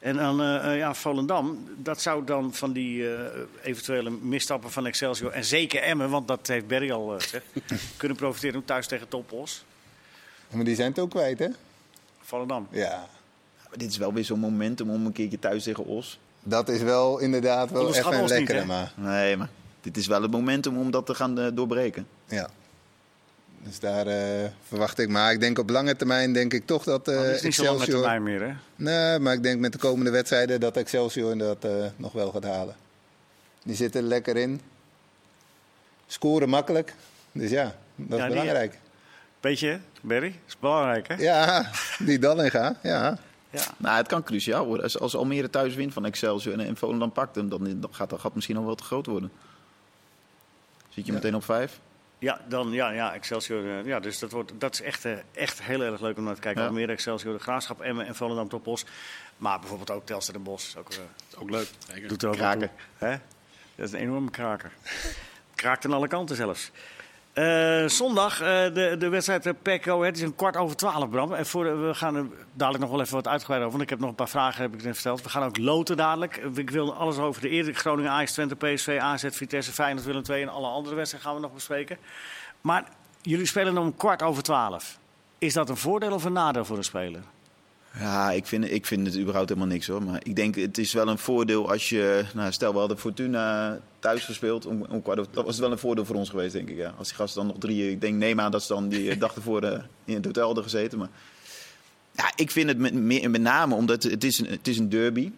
[SPEAKER 1] En dan eh, eh, ja, Volendam, dat zou dan van die eh, eventuele misstappen van Excelsior... en zeker Emmen, want dat heeft Berry al eh, gezegd... kunnen profiteren thuis tegen Topos.
[SPEAKER 3] Maar die zijn het ook kwijt, hè?
[SPEAKER 1] Volendam.
[SPEAKER 3] Ja.
[SPEAKER 4] Maar dit is wel weer zo'n momentum om een keertje thuis tegen Os.
[SPEAKER 3] Dat is wel inderdaad wel
[SPEAKER 1] Onderschat
[SPEAKER 3] even een
[SPEAKER 1] ons niet,
[SPEAKER 3] lekkere,
[SPEAKER 1] hè?
[SPEAKER 3] maar...
[SPEAKER 4] Nee, maar dit is wel het momentum om dat te gaan eh, doorbreken.
[SPEAKER 3] Ja. Dus daar eh, verwacht ik. Maar ik denk op lange termijn denk ik toch dat eh
[SPEAKER 1] dat Oh, is niet zo lang met
[SPEAKER 3] Excelsior...
[SPEAKER 1] termijn meer, hè?
[SPEAKER 3] Nee, maar ik denk met de komende wedstrijden dat Excelsior dat eh, nog wel gaat halen. Die zitten er lekker in. Scoren makkelijk. Dus ja, dat is
[SPEAKER 1] die-
[SPEAKER 3] belangrijk.
[SPEAKER 1] Beetje, hè, Berry? Dat is belangrijk, hè?
[SPEAKER 3] Ja, die dan in gaan. Ja.
[SPEAKER 1] Ja.
[SPEAKER 4] Nou, het kan cruciaal worden. Als, als Almere thuis wint van Excelsior en, en Volendam pakt hem, dan, dan gaat dat gat misschien nog wel te groot worden. Zit je meteen op vijf?
[SPEAKER 1] Ja, dan, ja, ja Excelsior. eh, ja, dus dat, wordt, dat is echt, eh, echt heel erg leuk om naar te kijken.
[SPEAKER 4] Ja.
[SPEAKER 1] Almere, Excelsior, de Graafschap, Emmen en Volendam tot Bos. Maar bijvoorbeeld ook Telstar en Bos. Ook, eh,
[SPEAKER 2] Ook leuk. Zeker.
[SPEAKER 1] doet er ook wat
[SPEAKER 4] Kraker.
[SPEAKER 1] toe, hè? Dat is een enorme kraker. Kraakt aan alle kanten zelfs. Eh, zondag eh, de, de wedstrijd eh, PECO. Het is een kwart over twaalf, Bram. En voor, we gaan er dadelijk nog wel even wat uitgebreid over. Want ik heb nog een paar vragen, heb ik net verteld. We gaan ook loten dadelijk. Eh, Ik wil alles over de eerder Groningen, Ajax, Twente, PSV, AZ, Vitesse, Feyenoord, Willem II... en alle andere wedstrijden gaan we nog bespreken. Maar jullie spelen om kwart over twaalf. Is dat een voordeel of een nadeel voor een speler?
[SPEAKER 4] Ja, ik vind, ik vind het überhaupt helemaal niks hoor. Maar ik denk het is wel een voordeel als je. Nou, stel, we hadden Fortuna thuis gespeeld. Om, om kwart over, dat was wel een voordeel voor ons geweest, denk ik. Ja. Als die gasten dan nog drie. Ik denk, neem aan dat ze dan die dag ervoor eh, in het hotel hadden gezeten. Maar ja, ik vind het met, meer- met name omdat het is een, het is een derby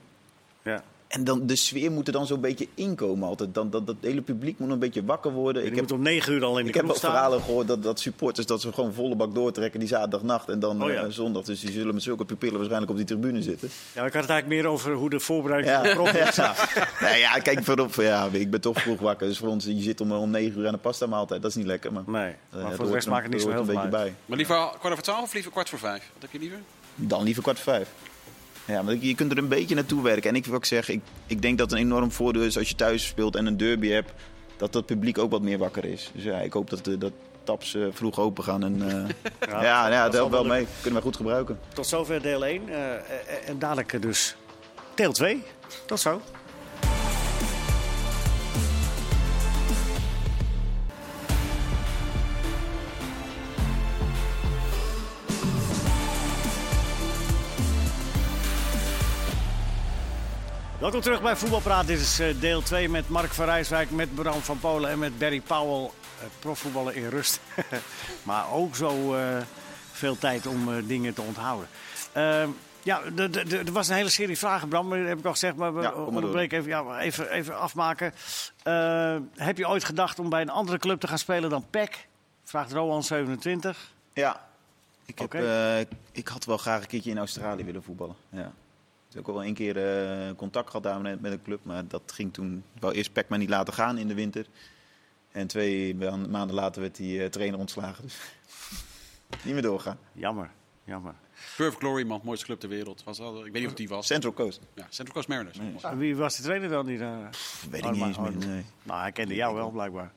[SPEAKER 1] Ja.
[SPEAKER 4] En dan, de sfeer moet er dan zo'n beetje inkomen altijd. Dan, dat, dat hele publiek moet een beetje wakker worden.
[SPEAKER 1] Ik
[SPEAKER 4] Ik
[SPEAKER 1] moet
[SPEAKER 4] heb,
[SPEAKER 1] om negen uur al in de
[SPEAKER 4] ik heb
[SPEAKER 1] kroeg
[SPEAKER 4] ook
[SPEAKER 1] staan.
[SPEAKER 4] verhalen gehoord dat, dat supporters dat ze gewoon volle bak doortrekken die zaterdagnacht en dan
[SPEAKER 1] Oh ja.
[SPEAKER 4] eh, zondag. Dus die zullen met zulke pupillen waarschijnlijk op die tribune zitten.
[SPEAKER 1] Ja, maar ik had het eigenlijk meer over hoe de voorbereiding
[SPEAKER 4] Ja.
[SPEAKER 1] van de prof is.
[SPEAKER 4] Ja. Nee, ja, kijk, voorop, ja, ik ben toch vroeg wakker. Dus voor ons, je zit om, om negen uur aan de pasta maaltijd. Dat is niet lekker, maar...
[SPEAKER 1] Nee,
[SPEAKER 4] eh,
[SPEAKER 1] maar
[SPEAKER 4] het
[SPEAKER 1] voor de
[SPEAKER 4] hoort
[SPEAKER 1] rest
[SPEAKER 4] er-
[SPEAKER 1] maakt het niet zo
[SPEAKER 4] hoort
[SPEAKER 1] heel
[SPEAKER 4] een
[SPEAKER 1] veel
[SPEAKER 4] beetje
[SPEAKER 1] uit.
[SPEAKER 4] bij.
[SPEAKER 2] Maar liever kwart over twaalf of liever kwart voor vijf? Wat heb je liever?
[SPEAKER 4] Dan liever kwart voor vijf. Ja, want je kunt er een beetje naartoe werken. En ik wil ook zeggen, ik, ik denk dat het een enorm voordeel is als je thuis speelt en een derby hebt, dat dat publiek ook wat meer wakker is. Dus ja, ik hoop dat, eh, dat taps eh, vroeg open gaan. En, eh, ja, ja, dat
[SPEAKER 1] zal
[SPEAKER 4] helpt wel
[SPEAKER 1] wel
[SPEAKER 4] mee. Kunnen we goed gebruiken.
[SPEAKER 1] Tot zover deel 1. eh, eh, en dadelijk eh, dus deel 2. Tot zo. Welkom terug bij Voetbalpraat. Dit is eh, deel 2 met Mark van Rijswijk, met Bram van Polen en met Barry Powell. Eh, profvoetballen in rust. maar ook zo eh, veel tijd om eh, dingen te onthouden. Ehm, ja, d- d- d- er was een hele serie vragen, Bram. maar Dat heb ik al gezegd, maar we
[SPEAKER 4] Ja, kom maar door.
[SPEAKER 1] onderbreken even, ja, maar even, even afmaken. Eh, heb je ooit gedacht om bij een andere club te gaan spelen dan PEC? Vraagt Rohan27.
[SPEAKER 4] Ja, ik, heb,
[SPEAKER 1] Oké.
[SPEAKER 4] eh, ik had wel graag een keertje in Australië willen voetballen. Ja. Ik heb ook al wel één keer eh, contact gehad daar met, met een club, maar dat ging toen. Ik wou eerst Pac-Man niet laten gaan in de winter. En twee ma- maanden later werd die eh, trainer ontslagen. Dus niet meer doorgaan.
[SPEAKER 1] Jammer, jammer.
[SPEAKER 2] Perfect Glory, man. Mooiste club ter wereld. Was dat, ik weet niet of die was.
[SPEAKER 4] Central Coast.
[SPEAKER 2] ja, Central Coast Mariners.
[SPEAKER 1] Wie was de trainer dan die daar...
[SPEAKER 4] Pff, weet ik
[SPEAKER 1] Oh,
[SPEAKER 4] niet
[SPEAKER 1] maar-
[SPEAKER 4] eens meer.
[SPEAKER 1] oh,
[SPEAKER 4] Nee.
[SPEAKER 1] Nou, hij kende jou wel, blijkbaar.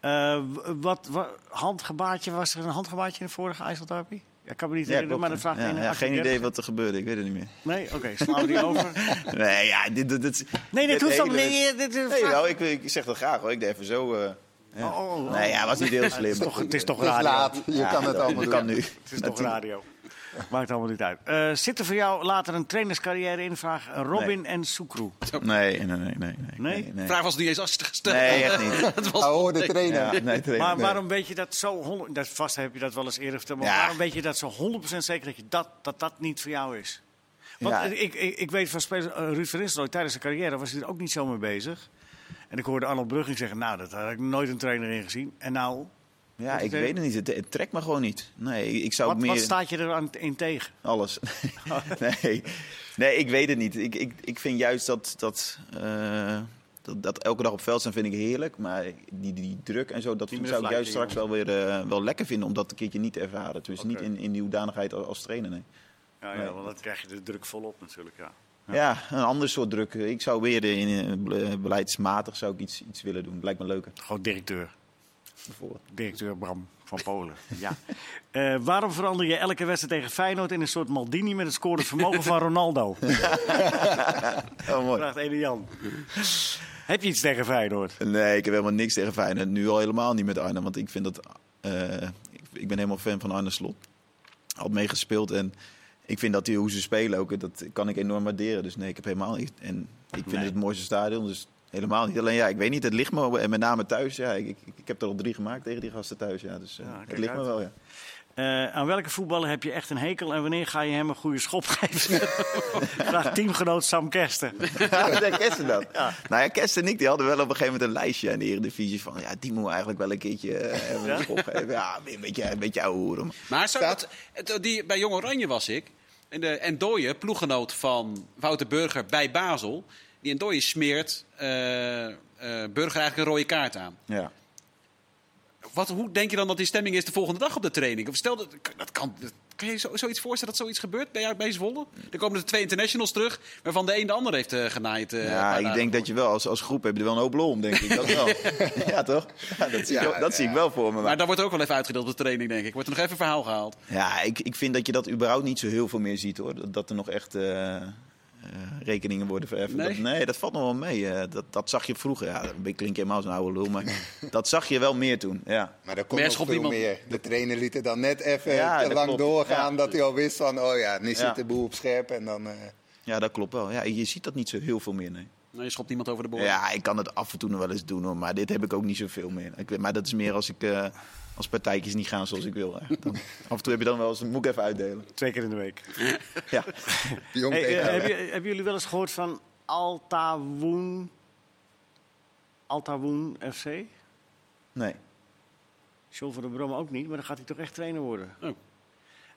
[SPEAKER 1] Eh, w- wat, wa- handgebaartje, was er een handgebaartje in de vorige IJsselderby? Ja, ik kan me niet
[SPEAKER 4] Ja,
[SPEAKER 1] herinneren, maar
[SPEAKER 4] klopt.
[SPEAKER 1] dat vraagt
[SPEAKER 4] Ja,
[SPEAKER 1] één
[SPEAKER 4] ja,
[SPEAKER 1] actie
[SPEAKER 4] geen idee
[SPEAKER 1] dertig.
[SPEAKER 4] wat er gebeurde, ik weet het niet meer.
[SPEAKER 1] Nee, oké, slaan we die over.
[SPEAKER 4] Nee, ja, dit, dit, dit,
[SPEAKER 1] Nee, dit hoeft
[SPEAKER 4] hele-
[SPEAKER 1] dan niet. Dit is
[SPEAKER 4] Nee, wel, ik, ik zeg dat graag hoor. Ik deed even zo. eh, ja.
[SPEAKER 1] Oh, oh, oh.
[SPEAKER 4] Nee, ja, was niet heel slim.
[SPEAKER 1] het, is toch, het is toch
[SPEAKER 3] Het is
[SPEAKER 1] radio.
[SPEAKER 3] laat. Je
[SPEAKER 4] Ja,
[SPEAKER 3] kan het
[SPEAKER 4] dat-
[SPEAKER 3] allemaal
[SPEAKER 4] dat
[SPEAKER 3] doen.
[SPEAKER 4] kan nu.
[SPEAKER 1] Het is toch radio. Maakt allemaal niet uit. Eh, zit er voor jou later een trainerscarrière in? Vraag Robin en Soekroe.
[SPEAKER 4] Nee, nee, nee, nee. Nee,
[SPEAKER 1] Nee?
[SPEAKER 2] De vraag was niet eens als je gesteld.
[SPEAKER 4] Nee, echt niet.
[SPEAKER 2] Het was
[SPEAKER 3] Hij hoorde trainen.
[SPEAKER 4] Ja, nee, trainer,
[SPEAKER 1] Maar
[SPEAKER 4] nee.
[SPEAKER 1] waarom weet je dat zo... honderd- Dat, vast heb je dat wel eens eerder verteld. Maar
[SPEAKER 4] Ja.
[SPEAKER 1] waarom weet je dat zo 100% zeker dat, je dat, dat dat niet voor jou is? Want
[SPEAKER 4] Ja.
[SPEAKER 1] eh, ik, ik, ik weet van speler eh, Ruud van Nistelrooy, tijdens zijn carrière was hij er ook niet zo mee bezig. En ik hoorde Arnold Brugging zeggen, nou, dat had ik nooit een trainer in gezien. En nou,
[SPEAKER 4] Ja, ik weet het niet. Het, het trekt me gewoon niet. Nee, ik, ik zou
[SPEAKER 1] wat,
[SPEAKER 4] meer...
[SPEAKER 1] wat staat je er aan, in tegen?
[SPEAKER 4] Alles. nee. nee, ik weet het niet. Ik, ik, ik vind juist dat, dat, eh, dat, dat elke dag op veld zijn vind ik heerlijk. Maar die, die druk en zo, dat
[SPEAKER 1] Die
[SPEAKER 4] zou ik juist
[SPEAKER 1] middenvlak,
[SPEAKER 4] straks wel weer eh, wel lekker vinden. Om dat een keertje niet te ervaren. Dus niet
[SPEAKER 1] Oké.
[SPEAKER 4] in, in die hoedanigheid als, als trainer. Nee.
[SPEAKER 1] Ja,
[SPEAKER 4] ja, Nee.
[SPEAKER 1] want dan krijg je de druk volop natuurlijk, ja.
[SPEAKER 4] Ja. een ander soort druk. Ik zou weer in, eh, beleidsmatig zou ik iets, iets willen doen. Lijkt me leuker,
[SPEAKER 1] Gewoon directeur.
[SPEAKER 4] bijvoorbeeld.
[SPEAKER 1] Directeur Bram van Polen, ja. Eh, waarom verander je elke wedstrijd tegen Feyenoord in een soort Maldini met het scorevermogen van Ronaldo?
[SPEAKER 4] Oh, mooi.
[SPEAKER 1] Vraagt Ede Jan. Heb je iets tegen Feyenoord?
[SPEAKER 4] Nee, ik heb helemaal niks tegen Feyenoord. Nu al helemaal niet met Arne. Want ik vind dat... eh, ik, ik ben helemaal fan van Arne Slot. Had meegespeeld en... Ik vind dat die, hoe ze spelen ook, dat kan ik enorm waarderen. Dus nee, ik heb helemaal niet. En ik vind
[SPEAKER 1] Nee.
[SPEAKER 4] het het mooiste stadion. Dus helemaal niet. Alleen ja, ik weet niet, het ligt me en met name thuis. Ja, ik, ik, ik heb er al drie gemaakt tegen die gasten thuis. Ja, dus eh,
[SPEAKER 1] Ja,
[SPEAKER 4] het
[SPEAKER 1] kijk
[SPEAKER 4] ligt me
[SPEAKER 1] uit.
[SPEAKER 4] wel. Ja.
[SPEAKER 1] Eh, aan welke voetballer heb je echt een hekel en wanneer ga je hem een goede schop geven? Vraag teamgenoot Sam Kersten.
[SPEAKER 4] ja, Kersten dan. Nou ja, Kersten en ik die hadden wel op een gegeven moment een lijstje in de Eredivisie van... Ja, die moet eigenlijk wel een keertje eh, hebben
[SPEAKER 1] Ja?
[SPEAKER 4] ja? opgeven. Ja, een beetje, een beetje ouwe hoeren.
[SPEAKER 2] Maar zou
[SPEAKER 4] Staat-
[SPEAKER 2] dat, het- die, bij Jong Oranje was ik. En, de, en Dooije, ploeggenoot van Wouter Burger bij Basel. Die en Dooije smeert eh, eh, Burger eigenlijk een rode kaart aan.
[SPEAKER 4] Ja.
[SPEAKER 2] Wat, hoe denk je dan dat die stemming is de volgende dag op de training? Of stel, dat, dat kan, dat- kan je zo, zoiets voorstellen dat zoiets gebeurt bij, jou- bij Zwolle? Er komen er twee internationals terug, waarvan de een de ander heeft eh, genaaid. eh, een paar
[SPEAKER 4] Ja, ik
[SPEAKER 2] dagen
[SPEAKER 4] denk dat je wel als, als groep heb je er wel een hoop lol om, denk ik. Dat wel. ja, toch? Ja, dat zie, ik,
[SPEAKER 3] Ja,
[SPEAKER 4] wel- dat zie ik
[SPEAKER 3] ja.
[SPEAKER 4] wel voor me.
[SPEAKER 2] Maar daar wordt ook wel even uitgedeeld op de training, denk ik. Wordt er nog even verhaal gehaald.
[SPEAKER 4] Ja, ik, ik vind dat je dat überhaupt niet zo heel veel meer ziet hoor. Dat, dat er nog echt eh, eh, rekeningen worden verheffen.
[SPEAKER 2] Nee?
[SPEAKER 4] Dat, nee, dat valt nog wel mee. eh. dat, dat zag je vroeger. Ja, dat klinkt helemaal als een oude lul, maar dat zag je wel meer toen. Ja.
[SPEAKER 3] Maar dat
[SPEAKER 2] Maar
[SPEAKER 3] komt
[SPEAKER 2] hij
[SPEAKER 3] nog veel
[SPEAKER 2] schopt niemand.
[SPEAKER 3] meer. De trainer liet het dan net even
[SPEAKER 4] Ja,
[SPEAKER 3] te
[SPEAKER 4] dat
[SPEAKER 3] lang
[SPEAKER 4] klopt.
[SPEAKER 3] doorgaan.
[SPEAKER 4] Ja.
[SPEAKER 3] Dat hij al wist van, oh ja, nu
[SPEAKER 4] Ja.
[SPEAKER 3] zit de boel op scherp. En dan, eh,
[SPEAKER 4] ja, dat klopt wel. Ja, je ziet dat niet zo heel veel meer, nee.
[SPEAKER 2] Nou, je schopt niemand over de boord.
[SPEAKER 4] Ja, ik kan het af en toe nog wel eens doen hoor, maar dit heb ik ook niet zoveel meer. Ik, weet- maar dat is meer als ik... eh, als partijtjes niet gaan zoals ik wil. Hè. Dan, af en toe heb je dan wel eens... Moet ik even uitdelen.
[SPEAKER 1] Twee keer in de week.
[SPEAKER 4] Ja.
[SPEAKER 3] jong
[SPEAKER 1] Hey, eh,
[SPEAKER 3] tegen
[SPEAKER 1] hebben, jullie- hebben jullie wel eens gehoord van Altawoen? Altawoen FC?
[SPEAKER 4] Nee.
[SPEAKER 1] John van der Brom ook niet, maar dan gaat hij toch echt trainer worden.
[SPEAKER 2] Oh.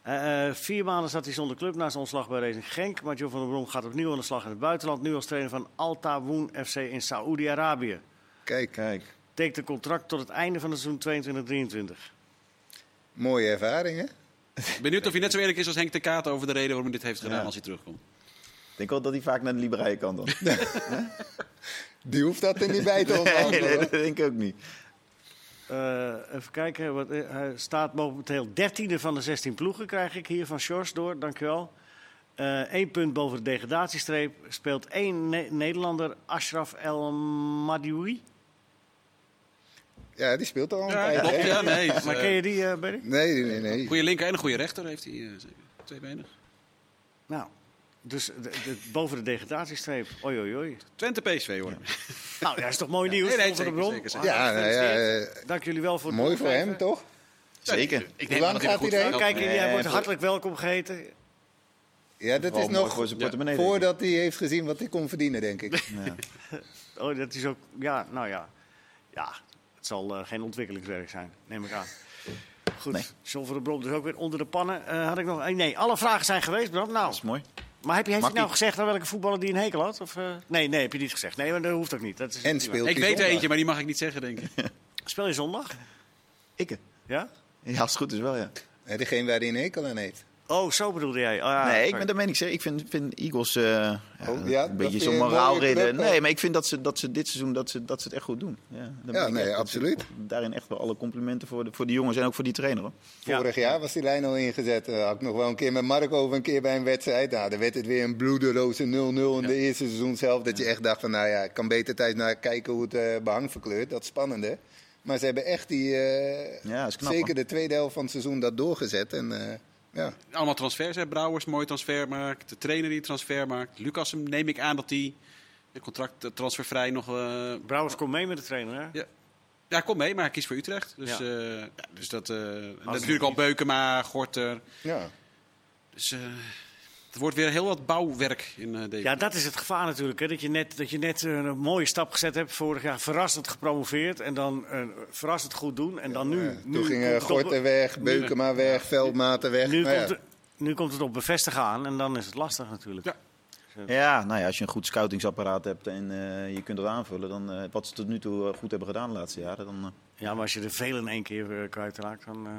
[SPEAKER 1] Eh, eh, vier maanden zat hij zonder club na zijn ontslag bij Racing Genk. Maar John van der Brom gaat opnieuw aan de slag in het buitenland. Nu als trainer van Altawoen FC in Saoedi-Arabië.
[SPEAKER 3] Kijk,
[SPEAKER 4] Kijk.
[SPEAKER 1] Tekent een contract tot het einde van het seizoen 22-23.
[SPEAKER 3] mooie ervaring hè?
[SPEAKER 2] Benieuwd of hij net zo eerlijk is als Henk de Kaat over de reden waarom hij dit heeft gedaan
[SPEAKER 4] Ja.
[SPEAKER 2] als hij terugkomt.
[SPEAKER 4] Ik denk wel dat hij vaak naar de liberale kant dan.
[SPEAKER 3] Die hoeft dat er niet bij te
[SPEAKER 4] Nee,
[SPEAKER 3] onderhandelen.
[SPEAKER 4] nee,
[SPEAKER 3] hoor.
[SPEAKER 4] dat denk ik ook niet.
[SPEAKER 1] Eh, even kijken, wat, eh, hij staat momenteel 13e van de 16 ploegen, krijg ik hier van Sjors door, dankjewel. Eén punt boven de degradatiestreep speelt één Ne- Nederlander, Ashraf El Madioui.
[SPEAKER 3] Ja, die speelt al een
[SPEAKER 2] Ja,
[SPEAKER 3] tijd.
[SPEAKER 2] klopt.
[SPEAKER 3] hè?
[SPEAKER 2] Ja, nee. dus,
[SPEAKER 1] Maar ken je die, eh, Berry?
[SPEAKER 3] Nee, nee, nee.
[SPEAKER 2] Goede linker en een goede rechter heeft hij. eh, zeker. Tweebenig.
[SPEAKER 1] Nou, dus de- de- boven de degradatiestreep, oei oei oei.
[SPEAKER 2] Twente PSV hoor.
[SPEAKER 1] Nou, dat is toch mooi nieuws,
[SPEAKER 2] nee, nee,
[SPEAKER 1] Tom van de
[SPEAKER 2] zeker,
[SPEAKER 1] Bron?
[SPEAKER 2] zeker, zeker.
[SPEAKER 3] Ja, nou ja, eh,
[SPEAKER 1] Dank jullie wel voor het
[SPEAKER 3] mooi voor hem
[SPEAKER 1] doorgeven.
[SPEAKER 3] toch?
[SPEAKER 4] Zeker.
[SPEAKER 2] Ik
[SPEAKER 3] Hoe lang gaat hij
[SPEAKER 1] Kijk,
[SPEAKER 2] Kijk,
[SPEAKER 1] jij
[SPEAKER 4] Nee,
[SPEAKER 1] wordt
[SPEAKER 4] voor-
[SPEAKER 1] hartelijk welkom geheten.
[SPEAKER 3] Ja, dat
[SPEAKER 4] Wel
[SPEAKER 3] is
[SPEAKER 4] mooi
[SPEAKER 3] nog
[SPEAKER 4] voor zijn portemonnee. denk ik.
[SPEAKER 3] voordat hij heeft gezien wat hij kon verdienen, denk ik.
[SPEAKER 1] Oh, dat is ook. Ja, nou ja. Ja, het zal eh, geen ontwikkelingswerk zijn, neem ik aan. Goed,
[SPEAKER 4] Nee.
[SPEAKER 1] John van der Brom dus ook weer onder de pannen. Eh, had ik nog. eh, Nee, alle vragen zijn geweest, Bram. Nou,
[SPEAKER 4] Dat is mooi.
[SPEAKER 1] maar heb je, heeft hij
[SPEAKER 4] Makkie.
[SPEAKER 1] nou gezegd aan welke voetballer die een hekel had? Of, eh, Nee, nee, heb je niet gezegd. Nee, maar dat hoeft ook niet. Dat is
[SPEAKER 3] En
[SPEAKER 1] niet waar.
[SPEAKER 3] speelt
[SPEAKER 2] ik
[SPEAKER 3] hij
[SPEAKER 2] weet er
[SPEAKER 3] zondag.
[SPEAKER 2] eentje, maar die mag ik niet zeggen, denk ik.
[SPEAKER 1] Speel je zondag?
[SPEAKER 4] Ikke.
[SPEAKER 1] Ja?
[SPEAKER 4] eh, Ja, als het goed is wel, ja.
[SPEAKER 3] Eh, Degene waar hij een hekel aan heeft.
[SPEAKER 1] Oh, zo bedoelde jij. Ah,
[SPEAKER 4] nee, ik
[SPEAKER 1] sorry.
[SPEAKER 4] ben, dat meen ik zeker. Ik vind, vind Eagles eh, ja,
[SPEAKER 3] Oh, ja,
[SPEAKER 4] een
[SPEAKER 3] dat
[SPEAKER 4] beetje
[SPEAKER 3] je
[SPEAKER 4] zo'n
[SPEAKER 3] een mooie
[SPEAKER 4] moraalreden.
[SPEAKER 3] club hebt.
[SPEAKER 4] nee, maar ik vind dat ze, dat ze dit seizoen dat ze, dat ze het echt goed doen. Ja, daar ben
[SPEAKER 3] Ja,
[SPEAKER 4] ik
[SPEAKER 3] nee,
[SPEAKER 4] echt- dat
[SPEAKER 3] absoluut.
[SPEAKER 4] ze- daarin echt wel alle complimenten voor de, voor die jongens en ook voor die trainer. Hoor.
[SPEAKER 1] Ja.
[SPEAKER 3] Vorig jaar was die lijn al ingezet. Eh, had ik nog wel een keer met Mark over een keer bij een wedstrijd. Nou, dan werd het weer een bloedeloze 0-0 in de eerste seizoen zelf. Dat je echt dacht van, nou ja, ik kan beter thuis naar kijken hoe het eh, behang verkleurt. Dat is spannende. Maar ze hebben echt die, eh,
[SPEAKER 4] Ja, is knap,
[SPEAKER 3] zeker
[SPEAKER 4] man.
[SPEAKER 3] de tweede helft van het seizoen dat doorgezet. En, eh, ja.
[SPEAKER 2] Allemaal transfers. Hè? Brouwers, mooi transfer maakt. De trainer die een transfer maakt. Lucas, hem neem ik aan dat hij een contract eh, transfervrij nog... eh,
[SPEAKER 1] Brouwers komt mee met de trainer, hè?
[SPEAKER 2] ja. ja, kom mee, maar hij kiest voor Utrecht. Dus,
[SPEAKER 1] Ja.
[SPEAKER 2] eh, ja. dus dat... eh, en dat is natuurlijk al Beukema, Gorter.
[SPEAKER 3] Ja.
[SPEAKER 2] Dus eh, het wordt weer heel wat bouwwerk in eh deze.
[SPEAKER 1] Ja, dat is het gevaar natuurlijk. Hè? Dat je net, dat je net eh, een mooie stap gezet hebt vorig jaar. Verrassend gepromoveerd en dan eh, verrassend goed doen. En dan nu.
[SPEAKER 3] Eh,
[SPEAKER 1] nu
[SPEAKER 3] Toen
[SPEAKER 1] komt
[SPEAKER 3] gingen
[SPEAKER 1] het op-
[SPEAKER 3] Gorten weg, Beukema weg, Veldmaten weg.
[SPEAKER 1] Nu
[SPEAKER 3] Maar nou ja,
[SPEAKER 1] komt, het, nu komt het op bevestigen aan en dan is het lastig natuurlijk.
[SPEAKER 2] Ja.
[SPEAKER 4] Ja, nou ja, als je een goed scoutingsapparaat hebt en eh, je kunt dat aanvullen, dan eh, wat ze tot nu toe eh, goed hebben gedaan de laatste jaren. Dan, eh,
[SPEAKER 1] Ja, maar als je er veel in één keer eh, kwijtraakt, dan... eh,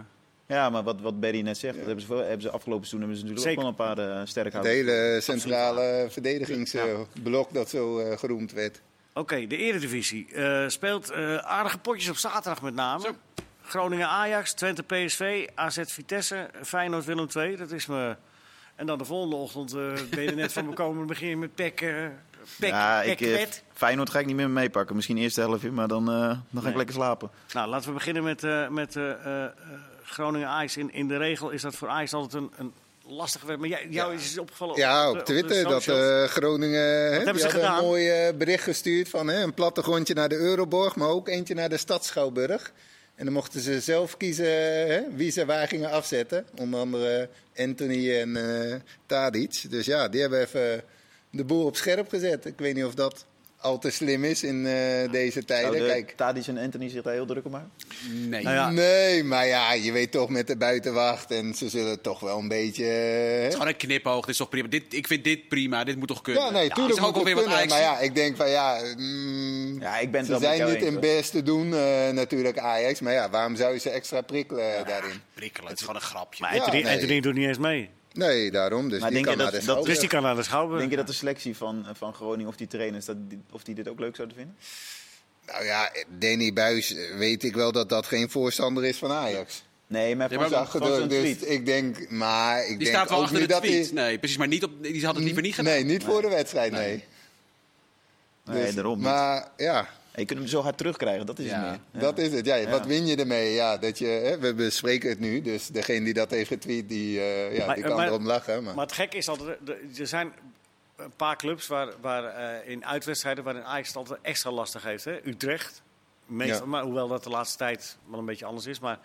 [SPEAKER 4] ja, maar wat, wat Barry net zegt, dat hebben ze, voor- hebben ze afgelopen seizoen hebben ze natuurlijk
[SPEAKER 1] Zeker.
[SPEAKER 4] ook wel een paar eh sterke
[SPEAKER 3] het hele centrale verdedigingsblok dat zo eh, geroemd werd.
[SPEAKER 1] Oké, de Eredivisie eh, speelt eh, aardige potjes op zaterdag met name. Groningen-Ajax, Twente-PSV, AZ-Vitesse, Feyenoord-Willem II. Dat is me... En dan de volgende ochtend eh ben je er net van me komen beginnen met pek, eh pek,
[SPEAKER 4] ja,
[SPEAKER 1] pek,
[SPEAKER 4] ik, eh,
[SPEAKER 1] pet.
[SPEAKER 4] Feyenoord ga ik niet meer meepakken. Misschien eerst de helft in, maar dan, eh, dan ga
[SPEAKER 1] Nee.
[SPEAKER 4] ik lekker slapen.
[SPEAKER 1] Nou, laten we beginnen met, eh, met eh, eh, eh, Groningen-Ajax. In, in de regel is dat voor Ajax altijd een, een lastig werd. Maar jij, jou is het opgevallen
[SPEAKER 3] Ja,
[SPEAKER 1] de-
[SPEAKER 3] op
[SPEAKER 1] de
[SPEAKER 3] Twitter dat
[SPEAKER 1] socials.
[SPEAKER 3] eh, Groningen hè,
[SPEAKER 1] hebben
[SPEAKER 3] die
[SPEAKER 1] ze
[SPEAKER 3] hadden
[SPEAKER 1] gedaan?
[SPEAKER 3] een mooi eh, bericht gestuurd van hè, een plattegrondje naar de Euroborg, maar ook eentje naar de Stadschouwburg. En dan mochten ze zelf kiezen hè, wie ze waar gingen afzetten. Onder andere Anthony en eh Tadic. Dus ja, die hebben even de boel op scherp gezet. Ik weet niet of dat al te slim is in eh, deze tijden.
[SPEAKER 4] Zouden
[SPEAKER 3] Kijk,
[SPEAKER 4] Nou, Tadic en Anthony zich daar heel druk om maken?
[SPEAKER 2] Nee.
[SPEAKER 1] Nou ja,
[SPEAKER 3] Nee, maar ja, je weet toch met de buitenwacht. En ze zullen toch wel een beetje... eh,
[SPEAKER 2] Het is gewoon een knipoog. Dit is toch prima. Dit, ik vind dit prima. Dit moet toch kunnen.
[SPEAKER 3] Ja, nee,
[SPEAKER 2] het
[SPEAKER 3] tuurlijk
[SPEAKER 2] is ook
[SPEAKER 3] moet
[SPEAKER 2] alweer
[SPEAKER 3] het
[SPEAKER 2] wat
[SPEAKER 3] kunnen.
[SPEAKER 2] Ajax.
[SPEAKER 3] Maar ja, ik denk van ja... mm,
[SPEAKER 4] Ja, ik ben het
[SPEAKER 3] ze
[SPEAKER 4] wel met
[SPEAKER 3] zijn
[SPEAKER 4] jou
[SPEAKER 3] niet
[SPEAKER 4] eens,
[SPEAKER 3] in
[SPEAKER 4] hoor.
[SPEAKER 3] best te doen eh, natuurlijk, Ajax. Maar ja, waarom zou je ze extra prikkelen eh, daarin?
[SPEAKER 2] Prikkelen. Het is gewoon een grapje.
[SPEAKER 1] Maar
[SPEAKER 3] Ja,
[SPEAKER 1] Anthony,
[SPEAKER 3] nee.
[SPEAKER 1] Anthony doet niet eens mee.
[SPEAKER 3] Nee, daarom. Dus
[SPEAKER 4] Maar
[SPEAKER 3] die
[SPEAKER 4] denk
[SPEAKER 3] kan
[SPEAKER 4] je
[SPEAKER 3] naar
[SPEAKER 4] dat-
[SPEAKER 3] de
[SPEAKER 4] dat-
[SPEAKER 3] schouder.
[SPEAKER 1] Dus die kan naar de schouwburg.
[SPEAKER 4] Oh, Denk je dat de selectie van, eh, van Groningen of die trainers, dat, die- of die dit ook leuk zouden vinden?
[SPEAKER 3] Nou ja, Danny Buis eh, weet ik wel dat dat geen voorstander is van Ajax.
[SPEAKER 4] Nee, maar
[SPEAKER 2] Ja,
[SPEAKER 4] van
[SPEAKER 2] maar
[SPEAKER 4] zo'n-
[SPEAKER 3] Zag
[SPEAKER 4] van
[SPEAKER 3] het ook,
[SPEAKER 4] zo'n
[SPEAKER 3] dus
[SPEAKER 4] tweet.
[SPEAKER 3] ik denk... Maar ik
[SPEAKER 2] Die
[SPEAKER 3] denk
[SPEAKER 2] staat wel
[SPEAKER 3] ook
[SPEAKER 2] achter de
[SPEAKER 3] niet dat
[SPEAKER 2] tweet.
[SPEAKER 3] hij-
[SPEAKER 2] Nee, precies. Maar niet op, die had het liever niet gedaan.
[SPEAKER 3] Nee, niet voor de wedstrijd, nee.
[SPEAKER 4] Nee,
[SPEAKER 3] Dus-
[SPEAKER 4] daarom niet.
[SPEAKER 3] Maar ja...
[SPEAKER 4] Je kunt hem zo hard terugkrijgen, dat is
[SPEAKER 2] Ja.
[SPEAKER 4] het meer.
[SPEAKER 3] Dat is het. Ja, Wat win je ermee? Ja, dat je, hè, we bespreken het nu, dus degene die dat heeft getweet, die, eh, ja,
[SPEAKER 1] Maar-
[SPEAKER 3] die kan
[SPEAKER 1] maar-
[SPEAKER 3] erom lachen. Maar,
[SPEAKER 1] Maar het gekke is dat er, er- er zijn een paar clubs waar, waar eh, in uitwedstrijden waarin Ajax het altijd extra lastig heeft. Hè? Utrecht, meestal,
[SPEAKER 3] Ja.
[SPEAKER 1] maar, hoewel dat de laatste tijd wel een beetje anders is. Maar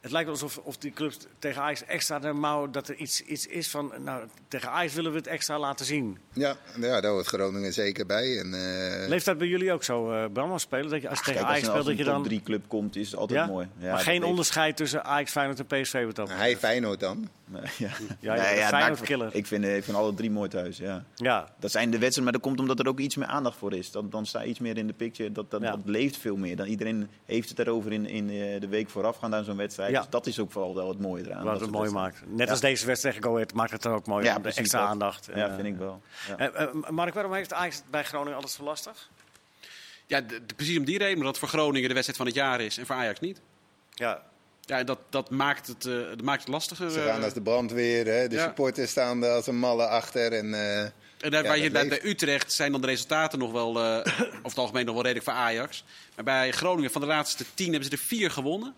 [SPEAKER 1] het lijkt wel alsof of die clubs tegen Ajax extra de mouw dat er iets, iets is van. Nou, tegen Ajax willen we het extra laten zien.
[SPEAKER 3] ja, ja, daar hoort Groningen zeker bij. En, eh,
[SPEAKER 1] Leeft dat bij jullie ook zo, eh Bram, als spelen? Dat je, als je tegen
[SPEAKER 4] Kijk, als
[SPEAKER 1] Ajax
[SPEAKER 4] je nou als
[SPEAKER 1] speelt, dat
[SPEAKER 4] een
[SPEAKER 1] je
[SPEAKER 4] top
[SPEAKER 1] dan.
[SPEAKER 4] 3 club komt, is het altijd
[SPEAKER 1] ja?
[SPEAKER 4] mooi. Ja,
[SPEAKER 1] maar
[SPEAKER 4] dat
[SPEAKER 1] geen
[SPEAKER 4] weet-
[SPEAKER 1] onderscheid tussen Ajax, Feyenoord en PSV wat dat betreft.
[SPEAKER 3] hij Feyenoord dan.
[SPEAKER 4] Nee, Ja,
[SPEAKER 1] Ja,
[SPEAKER 4] Nee,
[SPEAKER 1] ja,
[SPEAKER 4] het
[SPEAKER 1] Feyenoord
[SPEAKER 4] maakt-
[SPEAKER 1] killer.
[SPEAKER 4] Ik vind, ik vind alle drie mooi thuis, ja.
[SPEAKER 1] Ja,
[SPEAKER 4] Dat zijn de wedstrijden, maar dat komt omdat er ook iets meer aandacht voor is. Dan, dan staat iets meer in de picture, dat, dat,
[SPEAKER 1] Ja.
[SPEAKER 4] dat leeft veel meer. Dan, iedereen heeft het erover in, in eh, de week voorafgaand aan zo'n wedstrijd.
[SPEAKER 1] Ja.
[SPEAKER 4] Dus dat is ook vooral wel het mooie eraan.
[SPEAKER 1] wat
[SPEAKER 4] Dat
[SPEAKER 1] het
[SPEAKER 4] soort
[SPEAKER 1] mooi
[SPEAKER 4] wedstrijden.
[SPEAKER 1] maakt. Net
[SPEAKER 4] Ja.
[SPEAKER 1] als deze wedstrijd tegen Go Ahead maakt het dan ook mooi. Ja, de
[SPEAKER 4] precies
[SPEAKER 1] extra
[SPEAKER 4] dat.
[SPEAKER 1] aandacht.
[SPEAKER 4] Ja,
[SPEAKER 1] Eh,
[SPEAKER 4] vind ik wel. Ja.
[SPEAKER 1] Eh, eh, Mark, waarom heeft Ajax het bij Groningen alles zo lastig?
[SPEAKER 2] Ja, de- de- precies om die reden. Omdat het voor Groningen de wedstrijd van het jaar is en voor Ajax niet.
[SPEAKER 1] Ja,
[SPEAKER 2] Ja, en dat, dat, maakt het, eh, dat maakt het lastiger.
[SPEAKER 3] Ze
[SPEAKER 2] eh.
[SPEAKER 3] gaan als de brandweer, hè, de
[SPEAKER 2] ja.
[SPEAKER 3] supporters staan er als een malle achter. En, eh,
[SPEAKER 2] En daar,
[SPEAKER 3] Ja,
[SPEAKER 2] waar
[SPEAKER 3] dat
[SPEAKER 2] je, bij,
[SPEAKER 3] leeft.
[SPEAKER 2] bij Utrecht zijn dan de resultaten nog wel, eh, over het algemeen nog wel redelijk voor Ajax. Maar bij Groningen, van de laatste tien hebben ze er vier gewonnen.